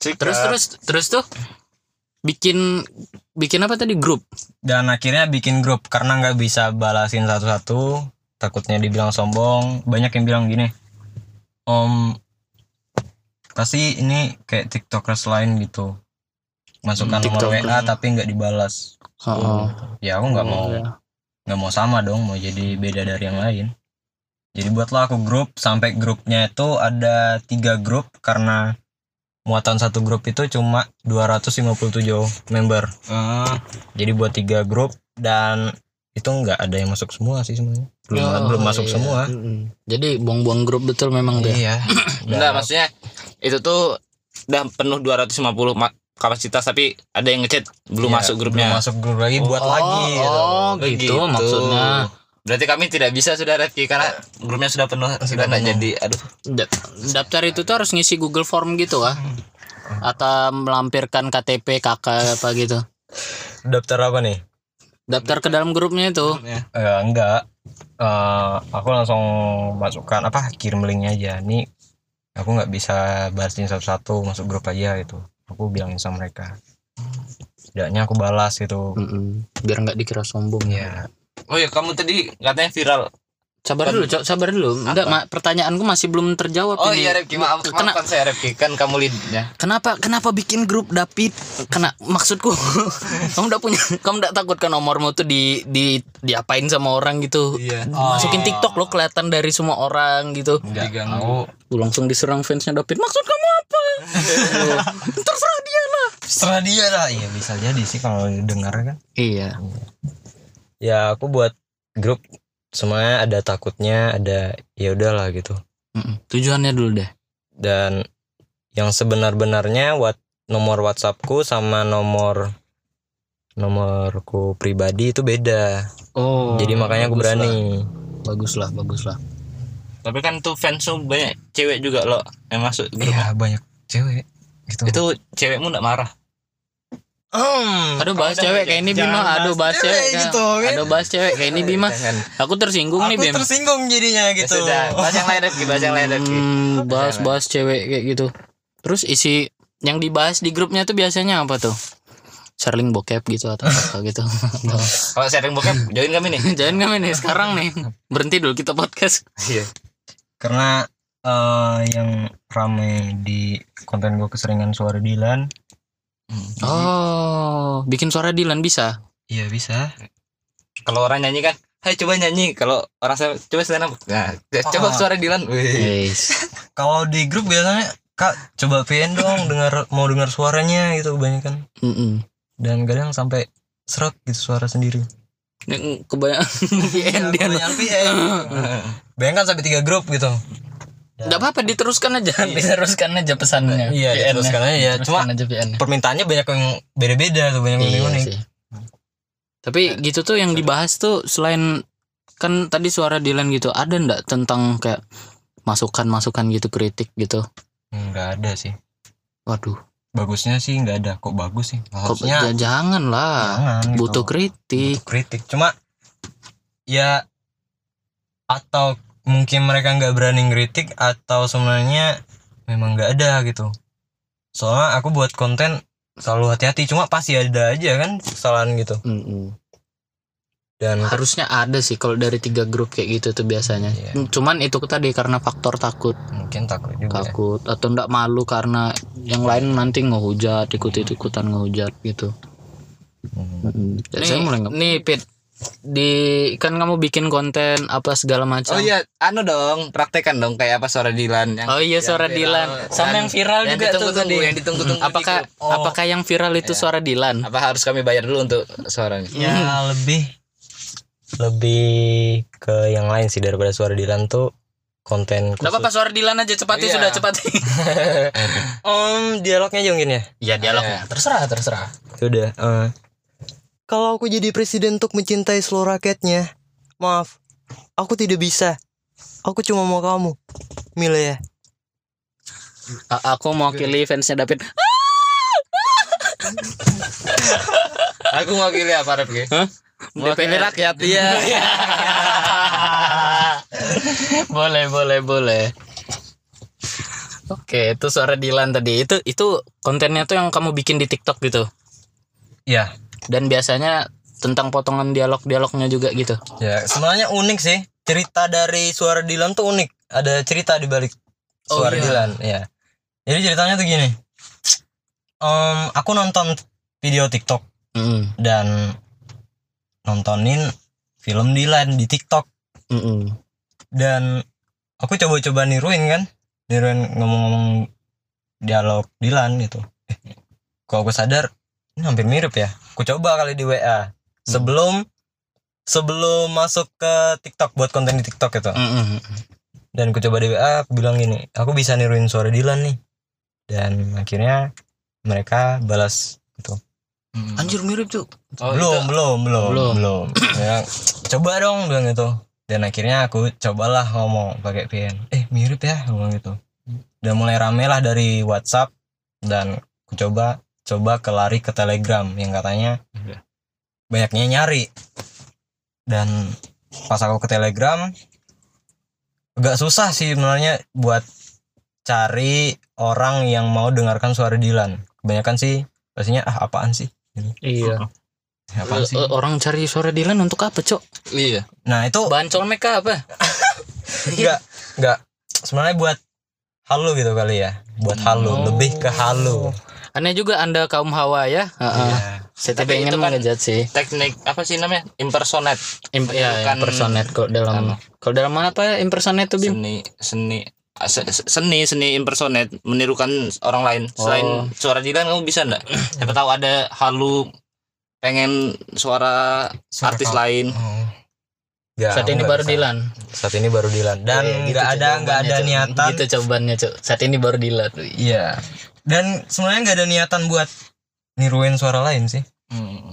B: Cika.
A: Terus terus terus tuh bikin bikin apa tadi grup?
C: dan akhirnya bikin grup karena nggak bisa balasin satu-satu takutnya dibilang sombong banyak yang bilang gini om pasti ini kayak tiktokers lain gitu masukkan
A: Hmm,
C: nomor
A: TikTokers.
C: WA tapi nggak dibalas
A: Oh.
C: ya aku nggak mau nggak mau sama dong mau jadi beda dari yang lain jadi buatlah aku grup sampai grupnya itu ada tiga grup karena muatan satu grup itu cuma 257 member
B: Ah,
C: jadi buat tiga grup dan itu nggak ada yang masuk semua sih sebenarnya belum
A: Oh,
C: belum masuk
A: iya.
C: semua
A: Mm-mm. Jadi buang-buang grup betul memang ya? deh.
C: iya
B: enggak maksudnya itu tuh udah penuh 250 ma- kapasitas tapi ada yang ngechat belum
C: Iya,
B: masuk
C: belum
B: grupnya.
C: masuk grup lagi buat lagi gitu.
A: Oh,
B: Oh,
A: gitu, maksudnya.
B: Berarti kami tidak bisa sudah Reki karena grupnya sudah penuh sudah enggak jadi. Aduh.
A: Da- daftar itu tuh harus ngisi Google Form gitu ah. Atau melampirkan KTP kakak apa gitu.
C: daftar apa nih
A: Daftar ke dalam grupnya itu.
C: Eh, enggak Eh, aku langsung masukkan apa kirim linknya aja nih aku nggak bisa balasin satu-satu masuk grup aja gitu aku bilangin sama mereka setidaknya aku balas gitu
A: Mm-mm. Biar nggak dikira sombong ya.
C: ya
B: Oh ya kamu tadi katanya viral.
A: Sabar dulu, Cok, sabar dulu. Enggak, ma- pertanyaanku masih belum terjawab
B: Oh
A: ini.
B: iya Reki maaf
A: Kena-
B: maafkan saya Reki kan kamu leadnya.
A: Kenapa kenapa bikin grup David? Kena maksudku. kamu udah punya kamu udah takut kan nomormu tuh di di diapain sama orang gitu.
B: Iya.
A: Masukin TikTok lo kelihatan dari semua orang gitu.
C: enggak
B: Diganggu.
C: aku
A: Lu langsung diserang fansnya David. Maksud kamu apa? Lu, Terserah dia lah.
C: setelah dia lah iya bisa jadi sih kalau dengar kan
A: Iya.
C: ya aku buat grup semuanya ada takutnya ada ya udahlah gitu
A: Mm-mm. Tujuannya dulu deh.
C: dan yang sebenar-benarnya wat nomor WhatsAppku sama nomor nomorku pribadi itu beda.
A: Oh.
C: Jadi makanya aku berani.
A: Baguslah, baguslah.
B: Tapi kan tuh fans tuh banyak cewek juga lo yang masuk grup.
C: Iya, banyak cewek gitu.
B: Itu cewekmu enggak marah.
A: Aduh bahas
B: Jangan-
A: cewek kayak ini Bima,
C: Hmm. jangan
A: aduh bahas
C: bahas
A: cewek.
C: cewek
A: kayak-
C: gitu, kan?
A: Aduh bahas cewek kayak ini Bima. Aku tersinggung nih
C: aku
A: Bim.
C: tersinggung jadinya
B: Ya
C: gitu.
B: sudah, bahas yang lain Reki, bahas yang lain Reki.
A: Hmm, bahas-bahas cewek kayak gitu. Terus isi yang dibahas di grupnya tuh biasanya apa tuh? Sherling bokep gitu atau apa gitu.
B: Kalau sharing bokep join kami nih.
A: Jangan kami nih sekarang nih. Berhenti dulu kita podcast.
B: Iya.
C: Karena eh, yang rame di konten gue keseringan suara Dilan.
A: Oh, bikin suara Dilan bisa.
C: Iya bisa.
B: Kalau orang nyanyi kan, "Hai coba nyanyi." Kalau orang saya coba stand up. Nah,
A: Oh.
B: coba
C: Ah.
B: suara Dilan. Iya. Wih.
A: Yes.
C: Kalau di grup biasanya Kak coba VN dong dengar mau dengar suaranya gitu kebanyakan
A: Mm-mm.
C: dan kadang sampai seret gitu suara sendiri.
A: Yang Kebanyakan VN
C: Iya,
A: dia.
C: kebanyakan VN. Bayangkan sampai tiga grup gitu.
A: Enggak apa-apa diteruskan aja. Iya. Diteruskan aja pesannya.
C: Iya,
A: VN-nya.
C: diteruskan aja ya.
A: Teruskan
C: Cuma
A: aja VN.
C: permintaannya banyak yang beda-beda tuh, banyak yang
A: Iya
C: unik.
A: sih. Tapi gitu tuh yang dibahas tuh selain kan tadi suara Dylan gitu, ada ndak tentang kayak masukan-masukan gitu kritik gitu.
C: Enggak ada sih.
A: Waduh,
C: Bagusnya sih enggak ada. Kok bagus sih?
A: kok ja-
C: Harusnya
A: jangan lah.
C: jangan gitu.
A: Butuh kritik.
C: Butuh kritik. Cuma ya atau mungkin mereka nggak berani ngeritik atau sebenarnya memang nggak ada gitu soalnya aku buat konten selalu hati-hati cuma pasti ada aja kan kesalahan gitu
A: Mm-mm.
C: dan
A: harusnya ada sih kalau dari tiga grup kayak gitu tuh biasanya
C: Iya.
A: cuman itu tadi karena faktor takut
C: mungkin takut juga ya.
A: takut atau ndak malu karena yang lain nanti ngehujat ikut ikutan ngehujat gitu
C: Hmm.
A: Mm-mm. Jadi
B: Nih,
A: saya mulai nggak- nih Pit di kan kamu bikin konten apa segala macam
B: Oh iya, anu dong, praktekan dong kayak apa suara Dilan yang
A: Oh iya
B: yang
A: suara
B: viral.
A: Dilan sama yang viral juga
B: yang
A: tuh
B: ditunggu-tunggu,
A: tadi.
B: yang ditunggu-tunggu
A: Mm, Apakah
B: di
C: grup. Oh.
A: apakah yang viral itu
B: Iya.
A: suara Dilan?
B: apa harus kami bayar dulu untuk suaranya?
C: ya lebih lebih ke yang lain sih daripada suara Dilan tuh konten
A: Enggak apa-apa
C: khusus
A: suara Dilan aja cepati
B: Iya.
A: sudah cepati.
C: om dialognya aja mungkin ya
A: Iya dialognya. Terserah, terserah.
C: Sudah. eh. Kalau aku jadi presiden untuk mencintai seluruh rakyatnya, maaf, aku tidak bisa. Aku cuma mau kamu, Mila ya.
A: A- aku mewakili fansnya David.
B: Aku mewakili apa Rep? ya.
A: Hah?
B: Mewakili
A: DPR.
B: rakyat ya.
A: boleh, boleh, boleh. Oke, itu suara Dilan tadi. Itu itu kontennya tuh yang kamu bikin di TikTok gitu.
C: Iya.
A: Dan biasanya tentang potongan dialog-dialognya juga gitu.
C: Ya, sebenarnya unik sih. Cerita dari suara Dilan tuh unik. Ada cerita di balik
A: Oh,
C: suara
A: iya.
C: Dilan, ya. Jadi ceritanya tuh gini. Em, aku nonton video TikTok
A: Mm
C: dan nontonin film Dilan di TikTok. dan aku coba-coba niruin kan niruin ngomong-ngomong dialog Dilan gitu Eh, kok aku sadar ini hampir mirip ya aku coba kali di WA sebelum sebelum masuk ke TikTok buat konten di TikTok gitu dan aku coba di WA aku bilang gini aku bisa niruin suara Dilan nih dan akhirnya mereka balas gitu.
A: Anjir mirip tuh.
B: Oh,
C: belum, belum belum
A: Belum.
C: belum Ya, coba dong bilang gitu dan akhirnya aku cobalah ngomong pakai VN eh mirip ya ngomong gitu dan mulai rame lah dari WhatsApp dan aku coba coba ke lari ke Telegram yang katanya
B: Iya.
C: banyaknya nyari dan pas aku ke Telegram agak susah sih sebenarnya buat cari orang yang mau dengarkan suara Dilan kebanyakan sih pastinya ah apaan sih
A: Iya.
C: apaan sih
A: Eh, Orang cari suara Dilan untuk apa, Cok?
B: Iya.
C: nah itu
A: Bahan colmek kah apa?
C: Enggak, enggak. Sebenarnya buat halu gitu kali ya. Buat halu,
A: Oh.
C: lebih ke halu.
A: Aneh juga Anda kaum hawa ya. Heeh.
C: Iya.
A: Saya
B: Tapi
A: tidak ingin
B: itu kan-
A: mengejat sih.
B: Teknik apa sih namanya? Impersonate.
A: Imp ya,
B: Bukan-
A: impersonate kalau dalam kalau dalam mana apa ya impersonate tuh Bim?
B: Seni seni ah, se- se- seni seni impersonate menirukan orang lain selain
A: Oh.
B: suara Dilan kamu bisa enggak? Siapa tahu ada halu pengen suara,
C: Suara
B: artis
C: kau-
B: lain.
C: Oh. Enggak,
A: Saat
C: aku
A: ini
C: enggak
A: baru
C: bisa.
A: Dilan.
C: Saat ini baru Dilan. Dan
A: Iya, gitu
C: enggak
A: tuh
C: ada enggak
A: jawabannya,
C: ada
A: Cuk.
C: niatan.
A: Gitu jawabannya, Cuk. Saat ini baru Dilan.
C: Iya. Dan sebenarnya enggak ada niatan buat niruin suara lain sih.
A: Hmm.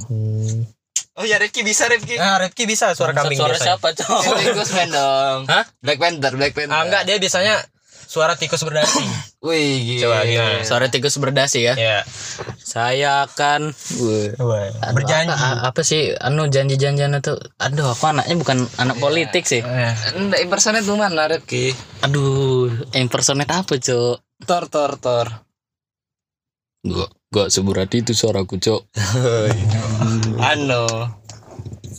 B: Oh ya Rifki bisa Rifki.
C: Nah, Rifki bisa suara kambing
A: Iya. Suara
C: biasanya.
A: siapa, Cok?
B: Ghostman dong.
A: Hah?
B: Black Panther, Black Panther.
C: Ah, enggak, dia biasanya suara tikus berdasi.
B: Wih, gila.
C: Coba gimana?
A: Suara tikus berdasi ya.
C: Iya.
A: Saya akan
C: Wah,
A: Aduh,
C: Berjanji.
A: apa, apa sih anu janji-janjian itu aduh aku anaknya bukan anak
B: Iya.
A: politik sih
C: Eh,
B: Enggak impersonate tuh mana Rifki?
A: aduh impersonate apa cok
B: Tor tor tor.
A: Gak, gak seberat itu suaraku cok
B: Anu.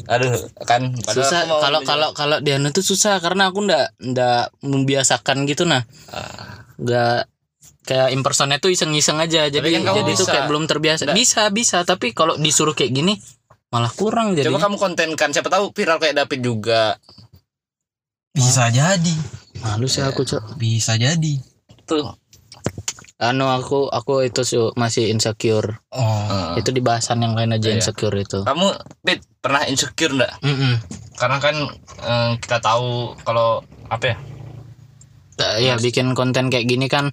B: Aduh, kan padahal
A: Susah
B: aku mau
A: kalau
B: menjawab.
A: kalau kalau di anu tuh susah karena aku ndak ndak membiasakan gitu nah
B: Ah.
A: Nggak kayak impersonate tuh iseng-iseng aja jadi
B: kan kamu
A: jadi tuh
B: bisa.
A: kayak belum terbiasa
B: Nggak.
A: bisa bisa tapi kalau disuruh kayak gini malah kurang jadi
B: Coba kamu kontenkan siapa tahu viral kayak David juga.
C: bisa jadi.
A: malu sih aku cok
C: Bisa jadi.
B: Tuh.
A: anu aku aku itu Cuk, masih insecure
C: Oh.
B: Heeh.
A: itu di bahasan yang lain aja
B: Ah. Iya.
A: insecure itu
B: Kamu Pit pernah insecure enggak?
A: Mm-mm.
B: Karena kan eh, kita tahu kalau apa ya?
A: Ta- ya bikin konten kayak gini kan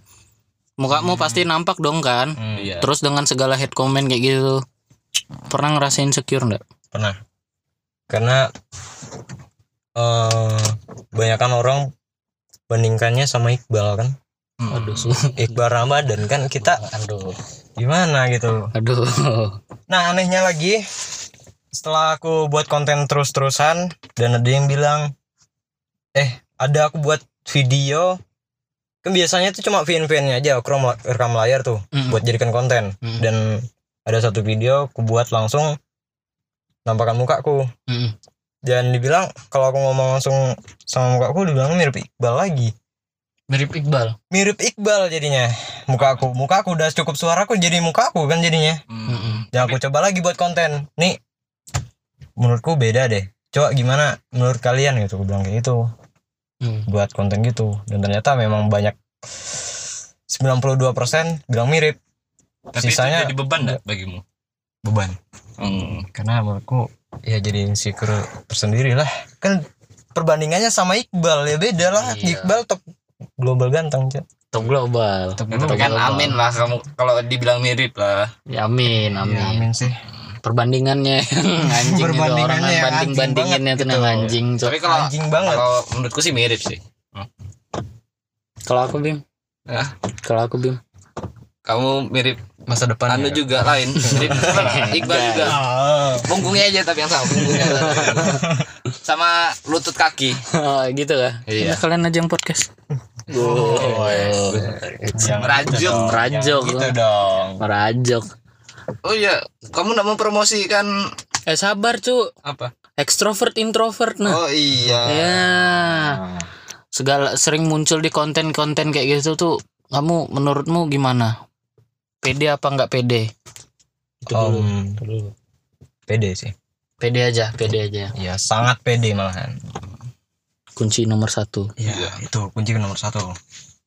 A: mukamu pasti nampak dong kan
B: Iya.
A: terus dengan segala hate comment kayak gitu pernah ngerasain insecure nggak
C: pernah karena eh banyakkan orang bandingkannya sama Iqbal kan
B: Hmm.
A: aduh
C: Iqbal Ramadan kan kita
A: aduh
C: gimana gitu
A: aduh
C: nah anehnya lagi setelah aku buat konten terus-terusan dan ada yang bilang eh ada aku buat video kan biasanya tuh cuma VN-VN-nya aja aku rekam- rekam layar tuh
A: Mm-mm.
C: buat jadikan konten
A: Mm-mm.
C: dan ada satu video aku buat langsung nampakkan mukaku
A: Mm-mm.
C: dan dibilang kalau aku ngomong langsung sama mukaku dibilang mirip Iqbal lagi
A: mirip Iqbal
C: mirip Iqbal jadinya muka aku muka aku udah cukup suaraku jadi muka aku kan jadinya
A: Mm-mm.
C: Ya aku coba lagi buat konten. Nih menurutku beda deh. Coba gimana menurut kalian gitu aku bilang kayak gitu.
A: Hmm.
C: Buat konten gitu dan ternyata memang banyak 92% bilang mirip.
B: Tapi
C: Sisanya-
B: itu jadi beban enggak bagimu?
C: Beban.
B: Hmm.
C: Karena menurutku ya jadi insecure tersendiri lah. Kan perbandingannya sama Iqbal ya beda lah.
A: Iya.
C: Iqbal top global ganteng, Cak.
A: top global
C: Top
A: Top global.
B: Kan amin lah kamu kalau dibilang mirip lah.
A: Ya, amin amin
C: Ya, amin sih.
A: perbandingannya yang anjing itu orang
C: Perbandingannya yang
A: banding bandinginnya
C: anjing
A: tuh yang
C: banget gitu.
A: anjing Cok.
B: Tapi kalau
C: Anjing banget.
B: kalau menurutku sih mirip sih.
A: kalau aku bim
B: Hah?
A: kalau aku bim
B: Kamu mirip
C: Masa depan.
B: anu juga lain. Mirip Iqbal juga.
C: Ah,
B: Punggungnya aja tapi yang sama punggungnya. sama lutut kaki.
A: gitu lah
B: Iya.
A: Udah, kalian aja yang podcast oh,
C: jangan
B: Merajuk.
C: gitu dong,
A: Merajuk.
C: jangan Gitu dong.
A: merajok
B: Oh iya, kamu nak mempromosikan
A: eh sabar cu
B: kan, apa?
A: ekstrovert introvert nah
B: Oh iya.
A: ya
C: Ah,
A: segala sering muncul di konten-konten kayak gitu tuh kamu menurutmu gimana pede apa nggak pede itu dulu,
C: Om,
A: itu dulu.
C: pede sih.
A: pede aja pede aja
C: Ya sangat pede malahan.
A: kunci nomor satu
C: Iya, itu kunci nomor satu.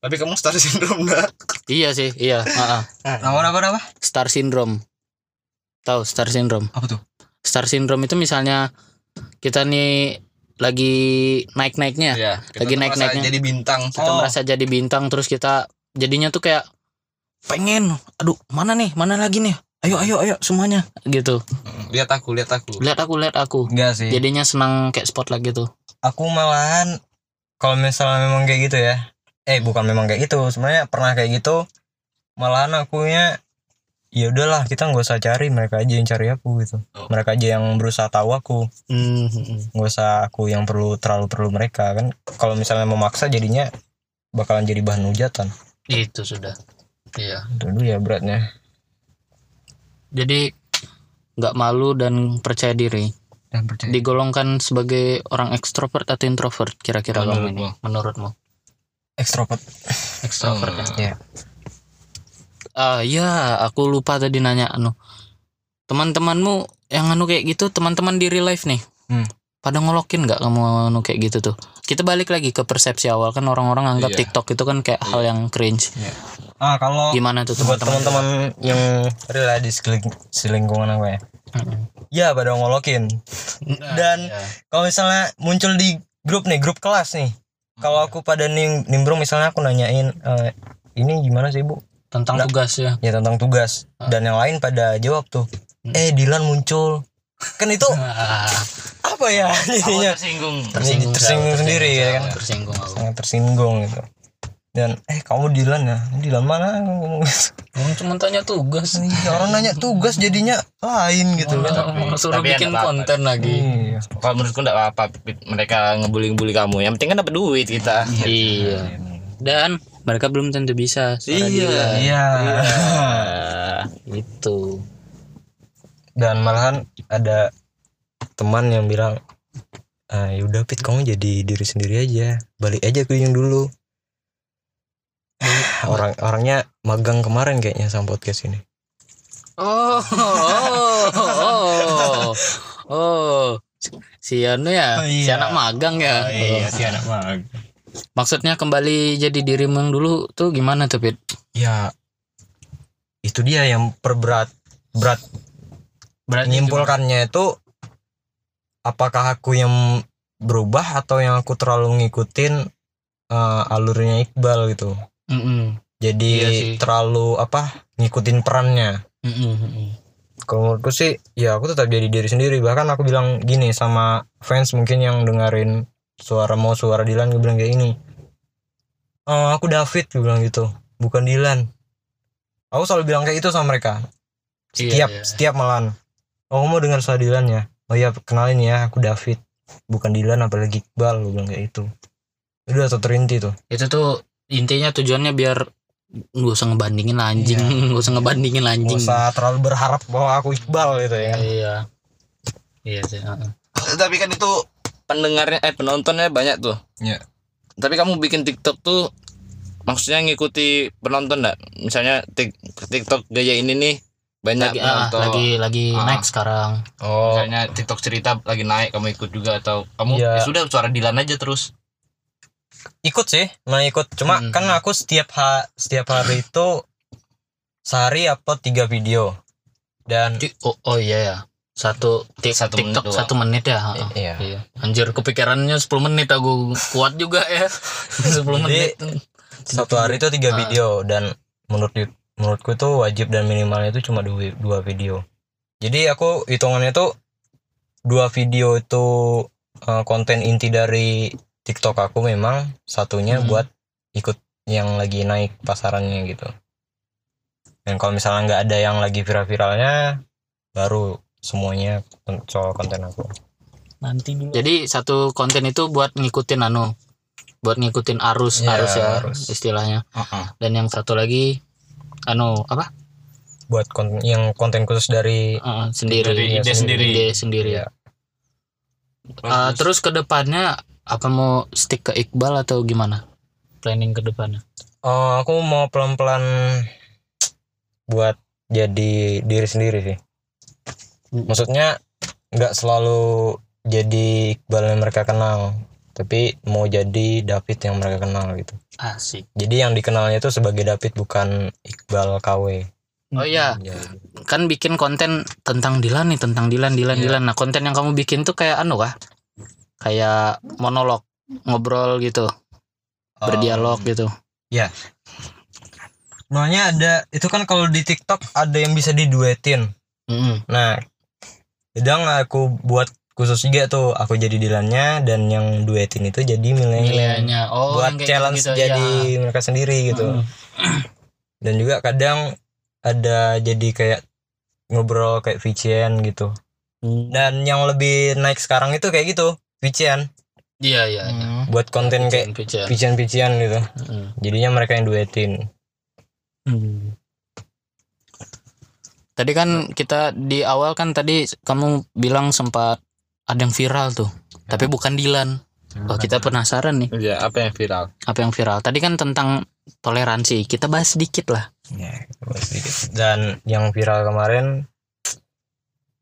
B: Tapi kamu star syndrome enggak?
A: iya sih iya ah, ah.
C: Nomor apa apa?
A: star syndrome tahu star syndrome
C: Apa tuh?
A: star syndrome itu misalnya kita nih lagi naik naiknya
B: Iya. kita
A: Lagi
B: tuh
A: naik-naiknya.
B: merasa Jadi bintang.
A: kita
C: Oh.
A: merasa jadi bintang terus kita jadinya tuh kayak pengen aduh mana nih mana lagi nih ayo ayo ayo semuanya gitu
B: Mm, Lihat aku, lihat aku.
A: lihat aku lihat aku
C: Enggak sih.
A: jadinya senang kayak spotlight gitu
C: aku malahan kalau misalnya memang kayak gitu ya. Eh, bukan memang kayak gitu. Sebenarnya pernah kayak gitu. Malahan akunya ya udahlah kita nggak usah cari mereka aja yang cari aku gitu
B: Oh.
C: mereka aja yang berusaha tahu aku nggak usah aku yang perlu terlalu perlu mereka kan kalau misalnya memaksa jadinya bakalan jadi bahan hujatan
A: itu sudah
B: Iya.
C: dulu ya beratnya
A: jadi nggak malu dan percaya diri
C: dan percaya
A: digolongkan sebagai orang ekstrovert atau introvert kira-kira kamu ini menurutmu
C: ekstrovert
A: ekstrovert ya
C: Iya.
A: ah ya aku lupa tadi nanya anu teman-temanmu yang anu kayak gitu teman-teman di real life nih
C: Hmm.
A: pada ngolokin nggak kamu anu kayak gitu tuh kita balik lagi ke persepsi awal kan orang-orang anggap
B: Iya.
A: TikTok itu kan kayak hal yang cringe
C: ah kalau
A: gimana tuh
C: buat
A: Iya, teman-teman
C: teman-teman yang real lah di sekeling- selingkungan aku ya
A: Mm-mm.
C: ya pada ngolokin
B: Nah,
C: dan
A: Iya.
C: kalau misalnya muncul di grup nih grup kelas nih kalau aku pada nim nimbrung misalnya aku nanyain eh, ini gimana sih bu
A: tentang
C: Nggak.
A: tugas ya
C: ya tentang tugas
A: Ah.
C: dan yang lain pada jawab tuh
A: Hmm.
C: eh Dilan muncul kan itu
A: Ah.
C: apa ya
B: Aku
C: jadinya
B: tersinggung.
A: tersinggung
C: Tersinggung
A: saya,
C: sendiri, ya
A: saya,
C: kan?
A: tersinggung aku
C: sangat tersinggung gitu dan eh kamu Dilan ya Dilan mana
A: Orang cuma tanya tugas
C: orang nanya tugas jadinya lain gitu
A: Orang-
C: kan
A: orang suruh
B: tapi ya
A: bikin
B: nggak apa-apa.
A: konten lagi
C: Iya.
B: Kalau menurutku enggak apa-apa mereka ngebully-bully kamu. Yang penting kan dapat duit kita.
C: Hmm,
A: iya dan mereka belum tentu bisa suara dia. Gitu.
C: Iya.
A: itu
C: Dan malahan ada teman yang bilang, ah, yaudah Pit kamu jadi diri sendiri aja, balik aja ke yang dulu. Orang orangnya magang kemarin kayaknya sama podcast ini.
A: oh oh oh oh si anu ya
C: Oh,
A: si
C: iya.
A: anak magang ya Oh.
C: si anak magang.
A: maksudnya kembali jadi dirimu yang dulu tuh gimana tuh Pit
C: Ya itu dia yang perberat berat
A: berarti
C: menyimpulkannya itu apakah aku yang berubah atau yang aku terlalu ngikutin eh, alurnya Iqbal gitu.
A: Mm-mm.
C: jadi
A: Iya sih.
C: terlalu apa ngikutin perannya
A: Mm-mm, mm-mm.
C: kalau menurutku sih ya aku tetap jadi diri sendiri bahkan aku bilang gini sama fans mungkin yang dengerin suara mau suara Dilan gue bilang kayak ini "Eh, aku David gue bilang gitu bukan Dilan aku selalu bilang kayak itu sama mereka
A: Iya,
C: setiap "Oh,
A: iya.
C: setiap malam aku mau dengar suara Dilan ya oh iya kenalin ya aku David bukan Dilan apalagi Iqbal gue bilang kayak itu itu udah terinti tuh
A: itu tuh intinya tujuannya biar gak usah ngebandingin lah anjing gak usah ngebandingin lah
C: Iya. nggak
A: anjing
C: usah terlalu berharap bahwa aku Iqbal gitu ya kan
A: iya iya sih heeh.
B: tapi kan itu pendengarnya eh penontonnya banyak tuh
C: Iya.
B: tapi kamu bikin TikTok tuh maksudnya ngikuti penonton enggak misalnya tik- TikTok gaya ini nih banyak
A: lagi ah,
B: penonton
A: lagi lagi
B: Ah.
A: naik sekarang
C: oh
B: misalnya TikTok cerita lagi naik kamu ikut juga atau kamu
C: Iya.
B: ya sudah suara Dilan aja terus
C: ikut sih nah ikut cuma
A: Hmm.
C: kan aku setiap ha setiap hari itu sehari upload tiga video dan
A: Di- oh, oh iya ya satu, tik-
B: Satu menit
A: TikTok
B: doang.
A: satu menit ya heeh.
C: iya
A: Iya. Anjir kepikirannya 10 menit aku kuat juga ya. 10 menit.
C: satu hari itu tiga
A: Ah.
C: video dan menurut di- menurutku itu wajib dan minimalnya itu cuma dua, dua video jadi aku hitungannya tuh dua video itu eh, konten inti dari TikTok aku memang satunya
A: Hmm.
C: buat ikut yang lagi naik pasarannya gitu dan kalau misalnya nggak ada yang lagi viral-viralnya baru semuanya kon- soal konten aku
D: nanti dulu
A: Jadi satu konten itu buat ngikutin anu buat ngikutin arus
C: Iya,
A: arus ya
C: arus.
A: istilahnya. Dan yang satu lagi anu apa?
C: buat konten yang konten khusus dari
A: Eh, sendiri.
B: Dari
C: ide sendiri.
A: Ide sendiri.
C: Iya.
B: Ah,
A: Eh, terus ke depannya apa mau stick ke Iqbal atau gimana? Planning ke depannya.
C: Eh, aku mau pelan-pelan buat jadi diri sendiri sih. Maksudnya nggak selalu jadi Iqbal yang mereka kenal, tapi mau jadi David yang mereka kenal gitu.
A: Asik.
C: Jadi yang dikenalnya itu sebagai David bukan Iqbal KW.
A: Oh iya, kan bikin konten tentang Dilan nih, tentang Dilan, Dilan,
B: Iya.
A: Dilan. Nah, konten yang kamu bikin tuh kayak anu kah? Kayak monolog, ngobrol
C: Oh.
A: gitu, berdialog gitu.
C: Sebenarnya ada itu kan kalau di TikTok ada yang bisa diduetin.
A: Mm-mm.
C: Nah, sedang aku buat khusus juga tuh aku jadi Dilannya dan yang duetin itu jadi milenial.
A: Nilainya. Oh,
C: buat
A: yang kayak
C: challenge
A: gitu-gitu,
C: jadi
A: ya.
C: mereka sendiri gitu
A: Mm.
C: dan juga kadang ada jadi kayak ngobrol kayak VCN gitu dan yang lebih naik sekarang itu kayak gitu VCN
A: Iya, iya, iya.
C: buat konten kayak
A: Pijar.
C: VCN VCN gitu
A: Mm.
C: jadinya mereka yang duetin
A: Hmm. Tadi kan kita di awal kan tadi kamu bilang sempat ada yang viral tuh. Tapi bukan Dilan. Wah, kita penasaran nih
B: ya apa yang viral
A: apa yang viral. Tadi kan tentang toleransi. Kita bahas sedikit lah.
C: Ya, kita bahas sedikit. dan yang viral kemarin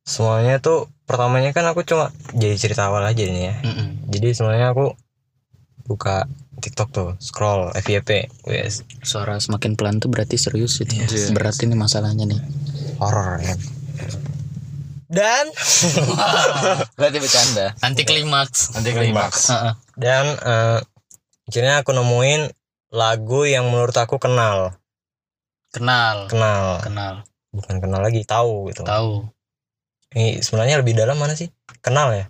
C: semuanya tuh pertamanya kan aku cuma jadi cerita awal aja ini ya
A: Mm-mm.
C: jadi semuanya aku buka TikTok tuh scroll FYP wes
A: Suara semakin pelan tuh berarti serius itu.
B: Iya.
A: Berat ini masalahnya nih.
C: horor ya dan
B: berarti bercanda
A: Anti Iya. klimaks.
B: nanti klimaks
A: Heeh.
C: dan eh, akhirnya aku nemuin lagu yang menurut aku kenal
A: Kenal,
C: kenal
A: kenal,
C: bukan kenal lagi tahu gitu
A: tahu,
C: ini sebenarnya lebih dalam mana sih kenal ya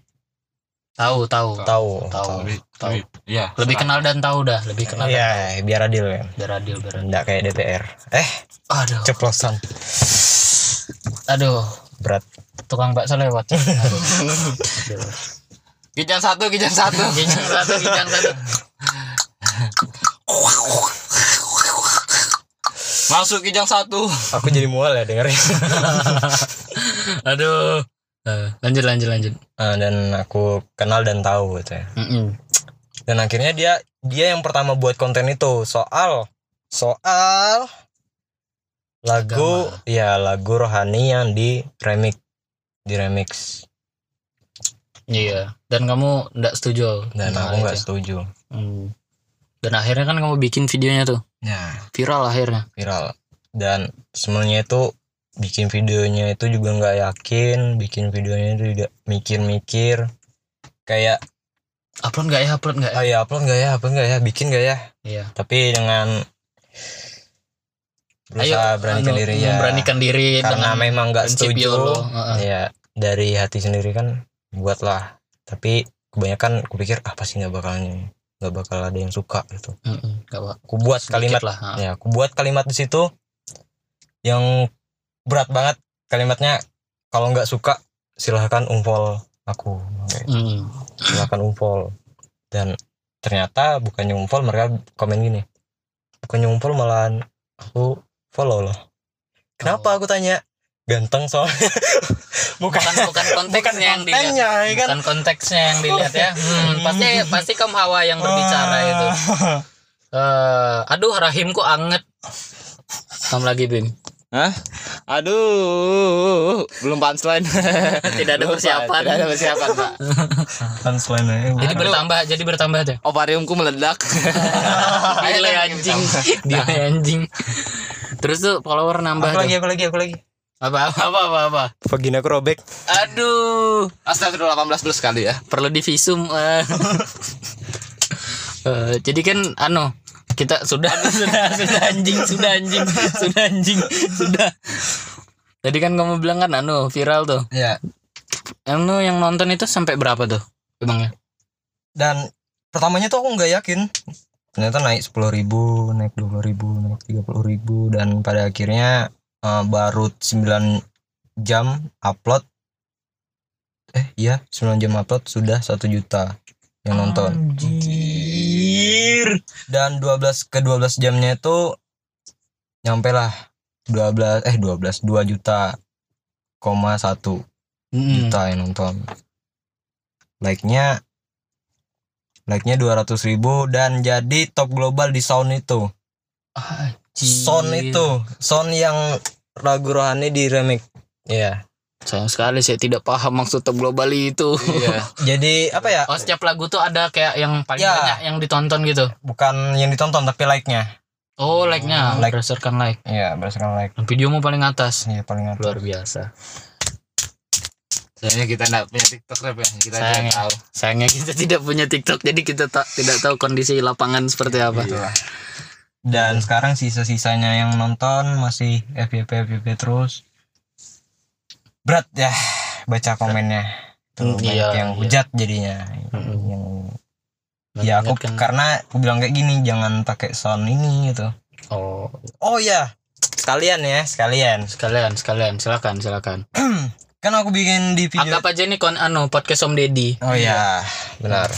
A: tahu, tahu.
C: tahu
A: Tahu. Tahu.
B: ya
A: Lebih kenal dan tahu dah, lebih kenal dan
C: Iya, biar adil ya
A: biar adil biar adil.
C: nggak kayak DPR eh
A: Aduh,
C: ceplosan
A: aduh,
C: berat
A: tukang bakso lewat. Aduh.
B: kijang satu kijang satu
A: Kijang satu, kijang satu.
B: masuk kijang satu
C: aku jadi mual ya dengerin
A: Aduh. Eh, lanjut lanjut lanjut.
C: Eh, dan aku kenal dan tahu gitu ya
A: Mm-mm.
C: dan akhirnya dia dia yang pertama buat konten itu soal soal lagu ya lagu rohani yang di remix di remix
A: Iya. Dan kamu ndak setuju.
C: dan
A: Nah,
C: aku nggak
A: itu.
C: setuju
A: Hmm. Dan akhirnya kan kamu bikin videonya tuh
C: ya
A: viral akhirnya.
C: viral dan sebenarnya itu bikin videonya itu juga nggak yakin bikin videonya itu juga mikir-mikir kayak
A: Upload nggak ya? Upload nggak? ya?
C: ah ya upload nggak ya upload nggak ya bikin nggak ya
A: Iya.
C: tapi dengan berusaha ya. beranikan
A: anu,
C: dirinya
A: Memberanikan diri
C: karena
A: dengan
C: memang nggak
A: Iya, prinsip
C: setuju
A: YOLO. Heeh.
C: ya dari hati sendiri kan buatlah tapi kebanyakan aku pikir ah pasti nggak bakalan nggak bakal ada yang suka gitu
A: Mm-mm. Nggak apa-
C: aku buat
A: sedikit
C: kalimat
A: lah. heeh.
C: ya aku buat kalimat di situ yang berat banget kalimatnya kalau nggak suka silahkan unfollow aku Oke,
A: Hmm.
C: silakan unfollow dan ternyata bukannya unfollow mereka komen gini bukannya unfollow malahan aku follow loh
A: Oh.
C: kenapa aku tanya ganteng soalnya bukan
A: bukan bukan konteksnya yang dilihat
C: kontennya ya kan
A: bukan konteksnya yang dilihat ya hmm, pasti pasti kamu hawa yang berbicara itu Eh, aduh rahimku anget kamu lagi bim
B: Hah? Aduh, belum punchline.
A: tidak ada
B: Lupa,
A: persiapan
B: Ah, Tidak ada persiapan, Pak.
C: kan selain
A: jadi bertambah jadi bertambah deh
B: Ovariumku meledak. Ah,
A: Gile anjing Gile anjing Terus tuh follower nambah
C: aku
A: tuh.
C: lagi aku lagi aku lagi
A: Apa apa apa apa, apa.
C: vagina aku robek
A: Aduh
B: Astagfirullah 18 plus kali ya.
A: Perlu divisum eh. Eh, Jadi kan Ano Kita sudah Sudah Sudah anjing Sudah anjing Sudah anjing Sudah Tadi kan kamu bilang kan Ano viral tuh
C: ya
A: Ano yang nonton itu sampai berapa tuh Emangnya
C: dan pertamanya tuh aku nggak yakin ternyata naik sepuluh ribu naik dua ribu naik tiga puluh ribu dan pada akhirnya eh, baru 9 jam upload eh iya 9 jam upload sudah satu juta yang nonton
A: Anjir
C: dan 12 ke 12 jamnya itu nyampe lah 12 eh 12 2 juta koma satu
A: Mm-mm.
C: juta yang nonton like-nya like-nya 200 ribu dan jadi top global di sound itu
A: Anjir.
C: sound itu sound yang lagu rohani di remix ya
A: Sayang sekali saya tidak paham maksud top global itu
B: Iya.
C: jadi apa ya
A: Oh setiap lagu tuh ada kayak yang paling
C: Ya.
A: banyak yang ditonton gitu.
C: bukan yang ditonton tapi like-nya
A: Oh like-nya
C: Hmm, Like.
A: berdasarkan like.
C: ya berdasarkan like
A: Dan videomu paling atas.
C: ya paling atas.
A: Luar biasa.
B: Sayangnya kita enggak punya TikTok rap ya. Kita
A: Sayangnya.
B: tidak tahu.
A: Sayangnya kita tidak punya TikTok jadi kita tak tidak tahu kondisi lapangan seperti apa.
C: Iya.
B: Itulah.
C: dan sekarang sisa-sisanya yang nonton masih FYP FYP terus berat ya baca komennya
A: Hmm,
C: tuh banyak
A: iya,
C: yang
A: iya. Hmm.
C: hujat jadinya
A: Mm-mm.
C: yang ya aku
A: Mengingatkan-
C: karena aku bilang kayak gini jangan pakai sound ini gitu
A: Oh
C: oh ya sekalian ya sekalian
A: sekalian sekalian silakan silakan.
C: kan aku bikin di video
A: Anggap Iya. aja nih kon ano podcast Om Deddy.
C: oh ya benar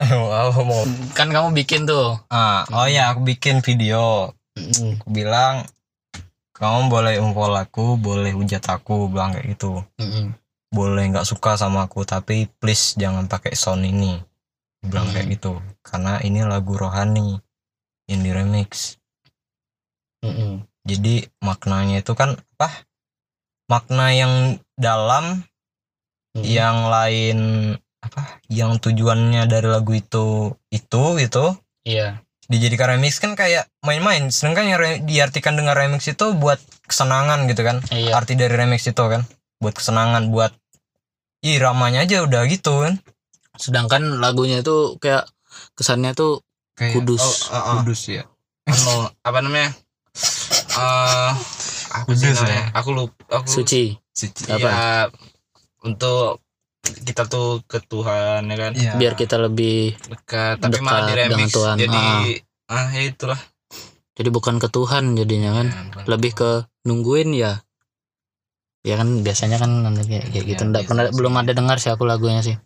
C: wow mau
A: Kan kamu bikin tuh.
C: ah oh ya aku bikin video
A: Mm-mm.
C: aku bilang kamu boleh unfollow aku boleh hujat aku bilang kayak gitu
A: Mm-mm.
C: boleh nggak suka sama aku tapi please jangan pakai sound ini Aku bilang
A: Hmm.
C: kayak gitu karena ini lagu rohani yang di remix
A: Mm-mm.
C: jadi maknanya itu kan apa makna yang dalam
A: Mm-mm.
C: yang lain apa yang tujuannya dari lagu itu itu gitu
A: Iya.
C: dijadikan remix kan kayak main-main sedangkan yang re- diartikan dengan remix itu buat kesenangan gitu kan
A: Iya.
C: arti dari remix itu kan buat kesenangan buat Ih, ramanya aja udah gitu kan
A: Sedangkan lagunya tuh kayak kesannya tuh
B: Kayak-
A: Kudus.
B: oh, oh, oh.
A: uh.
C: kudus ya
B: Anu, apa namanya? Eh, aku
C: Kudus ya?
B: ya. Aku lupa.
A: Hmm.
B: Aku
A: suci.
B: Suci.
A: Apa?
B: Ya, untuk kita tuh ke Tuhan ya kan.
C: Iya.
A: Biar kita lebih
B: Dekat, tapi malah di
A: Dekat dengan
B: remix.
A: Tuhan.
B: Jadi ah, ya itulah.
A: jadi bukan ke Tuhan jadinya kan. lebih ke nungguin ya ya kan biasanya kan nanti kayak, kayak gitu
B: Ya,
A: Nggak pernah
B: biasanya.
A: belum ada dengar sih aku lagunya sih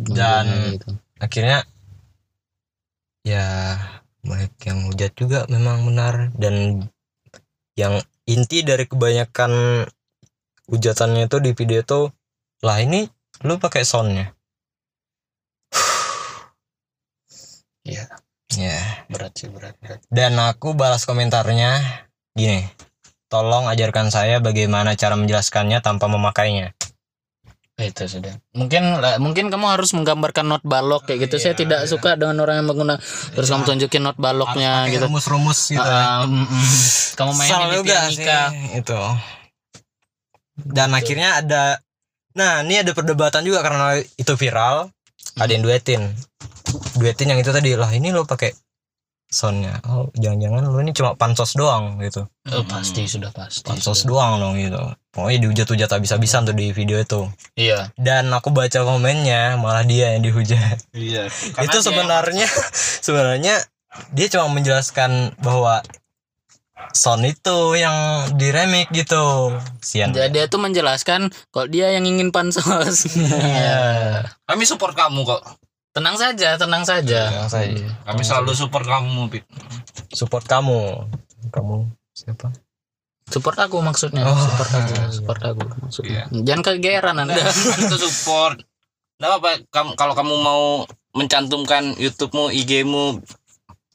C: Dan-
A: Nungguin gitu.
C: akhirnya ya banyak yang hujat juga memang benar dan yang inti dari kebanyakan hujatannya itu di video itu lah ini lu pakai soundnya
A: Iya.
C: ya
A: berat sih berat berat
C: dan aku balas komentarnya gini tolong ajarkan saya bagaimana cara menjelaskannya tanpa memakainya
A: Ya, itu sudah mungkin lah, mungkin kamu harus menggambarkan not balok kayak gitu saya
C: Iya,
A: tidak
C: iya.
A: suka dengan orang yang menggunakan terus kamu tunjukin not baloknya gitu
C: rumus-rumus
A: Ah, ah, mm, mm. kamu main
C: Kesel
A: di
C: juga
A: pianika
C: sih, itu dan akhirnya ada nah ini ada perdebatan juga karena itu viral
A: Hmm.
C: ada yang duetin duetin yang itu tadi lah ini lo pakai soundnya oh jangan-jangan lo ini cuma pansos doang gitu
A: Oh, pasti sudah pasti
C: pansos
A: sudah.
C: doang dong gitu pokoknya dihujat-hujat habis-habisan tuh di video itu
A: iya
C: dan aku baca komennya malah dia yang dihujat
B: Iya.
C: itu sebenarnya sebenarnya dia cuma menjelaskan bahwa sound itu yang di remake gitu sian
A: Jadi dia tuh menjelaskan kalau dia yang ingin pansos.
C: Iya.
B: Kami support kamu kok.
A: tenang saja, tenang saja.
C: Tenang saja.
B: Kami selalu support kamu, Pip.
C: support kamu kamu siapa
A: Support aku maksudnya,
C: Oh.
A: support aku, support aku maksudnya.
C: Iya.
A: Jangan kegeeran Anda.
B: Kami tuh support. Enggak apa-apa kamu kalau kamu mau mencantumkan YouTube-mu, IG-mu,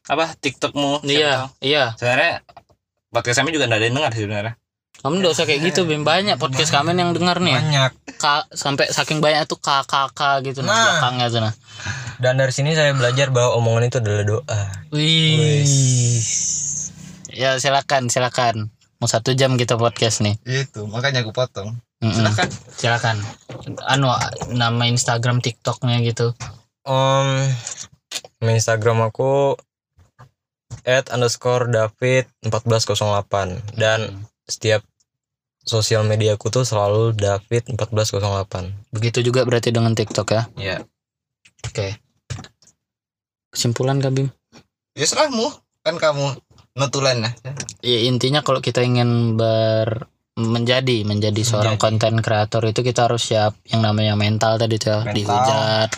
B: apa TikTok-mu. siapa tahu.
A: Iya, iya.
B: Sebenarnya podcast kami juga enggak ada yang dengar sih sebenarnya.
A: Kamu enggak usah kayak gitu, Bim. Banyak podcast kami yang denger nih.
C: banyak
A: Ka- sampai saking banyak tuh kakak-kakak gitu nah,
C: Nah.
A: belakangnya tuh nah.
C: dan dari sini saya belajar bahwa omongan itu adalah doa
A: Wih. Ya silakan, silakan. Mau satu jam kita podcast nih.
B: Itu, Gitu, makanya aku potong.
A: Mm-mm.
B: Silakan.
A: Silakan. Anu nama Instagram TikToknya gitu.
C: um nama Instagram aku at underscore david 1408 dan setiap sosial media aku tuh selalu david 1408
A: Begitu juga berarti dengan TikTok ya.
B: Iya.
A: Oke. Kesimpulan Kak Bim?
B: Ya serahmu, kan kamu notulen ya.
A: Ya intinya kalau kita ingin ber menjadi menjadi seorang konten kreator itu kita harus siap yang namanya mental tadi tuh ya,
B: Mental.
A: dihujat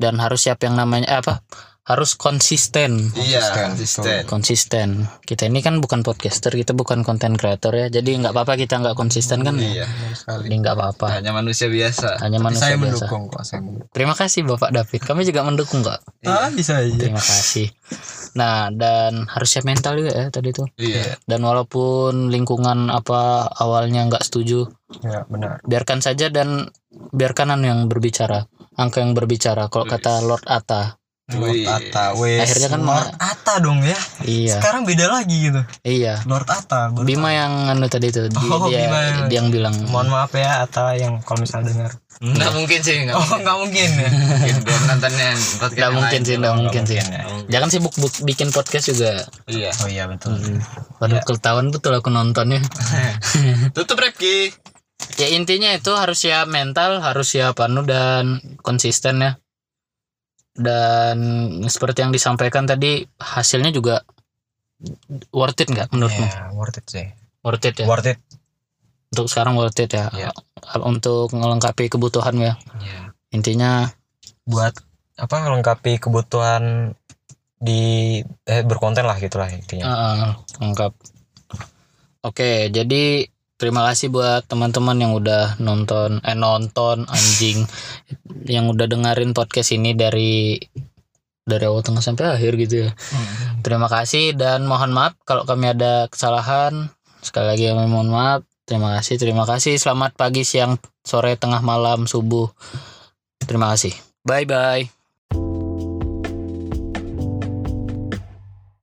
A: dan harus siap yang namanya eh, apa? Harus konsisten.
B: Iya,
C: Konsisten.
B: konsisten.
A: Konsisten. Kita ini kan bukan podcaster, kita bukan konten kreator ya. Jadi nggak apa-apa kita nggak konsisten kan?
B: Iya.
A: Jadi nggak apa-apa.
B: Hanya manusia biasa.
A: Hanya manusia biasa.
C: kok saya mendukung
A: Terima kasih Bapak David. Kami juga mendukung kok.
C: ah bisa aja
A: Terima kasih. Nah, dan harus siap mental juga ya tadi tuh.
B: Iya.
A: Dan walaupun lingkungan apa awalnya nggak setuju,
C: ya benar
A: biarkan saja dan biarkan anu yang berbicara. Angka yang berbicara kalau kata Lord Atta.
C: Lord
B: Wih.
C: Atta, wes.
A: Akhirnya kan
C: Lord Atta dong ya.
A: Iya,
C: Sekarang beda lagi gitu.
A: iya.
C: Lord Atta. baru
A: Bima yang anu tadi tuh dia,
C: Oh,
A: dia,
C: Bima.
A: dia yang bilang
C: tahu. Mohon maaf ya Atta yang kalau misalnya dengar.
B: Enggak mungkin sih, enggak
C: Oh nggak mungkin ya.
B: mungkin. Belum nontonnya podcast
A: nggak
B: yang
A: mungkin
B: lain.
A: sih, nggak mungkin sih.
C: ya.
A: Jangan sibuk buk- bikin podcast juga.
B: Iya.
C: Oh iya betul.
A: Hmm,
C: Iya.
A: Baru ketahuan betul aku nontonnya.
B: Tutup Repki.
A: Ya intinya itu harus siap mental, harus siap anu dan konsisten ya. Dan seperti yang disampaikan tadi hasilnya juga worth it nggak menurutmu?
C: Ya, worth it sih.
A: Worth it ya.
C: Worth it.
A: Untuk sekarang worth it ya.
C: Iya.
A: Untuk melengkapi kebutuhan ya. Intinya
C: Buat apa melengkapi kebutuhan di eh, berkonten lah gitulah intinya.
A: eh, lengkap. Oke, jadi terima kasih buat teman-teman yang udah nonton eh nonton anjing yang udah dengerin podcast ini dari dari awal tengah sampai akhir gitu ya. Terima kasih dan mohon maaf kalau kami ada kesalahan. Sekali lagi kami mohon maaf. Terima kasih, terima kasih. Selamat pagi, siang, sore, tengah malam, subuh. Terima kasih. Bye bye.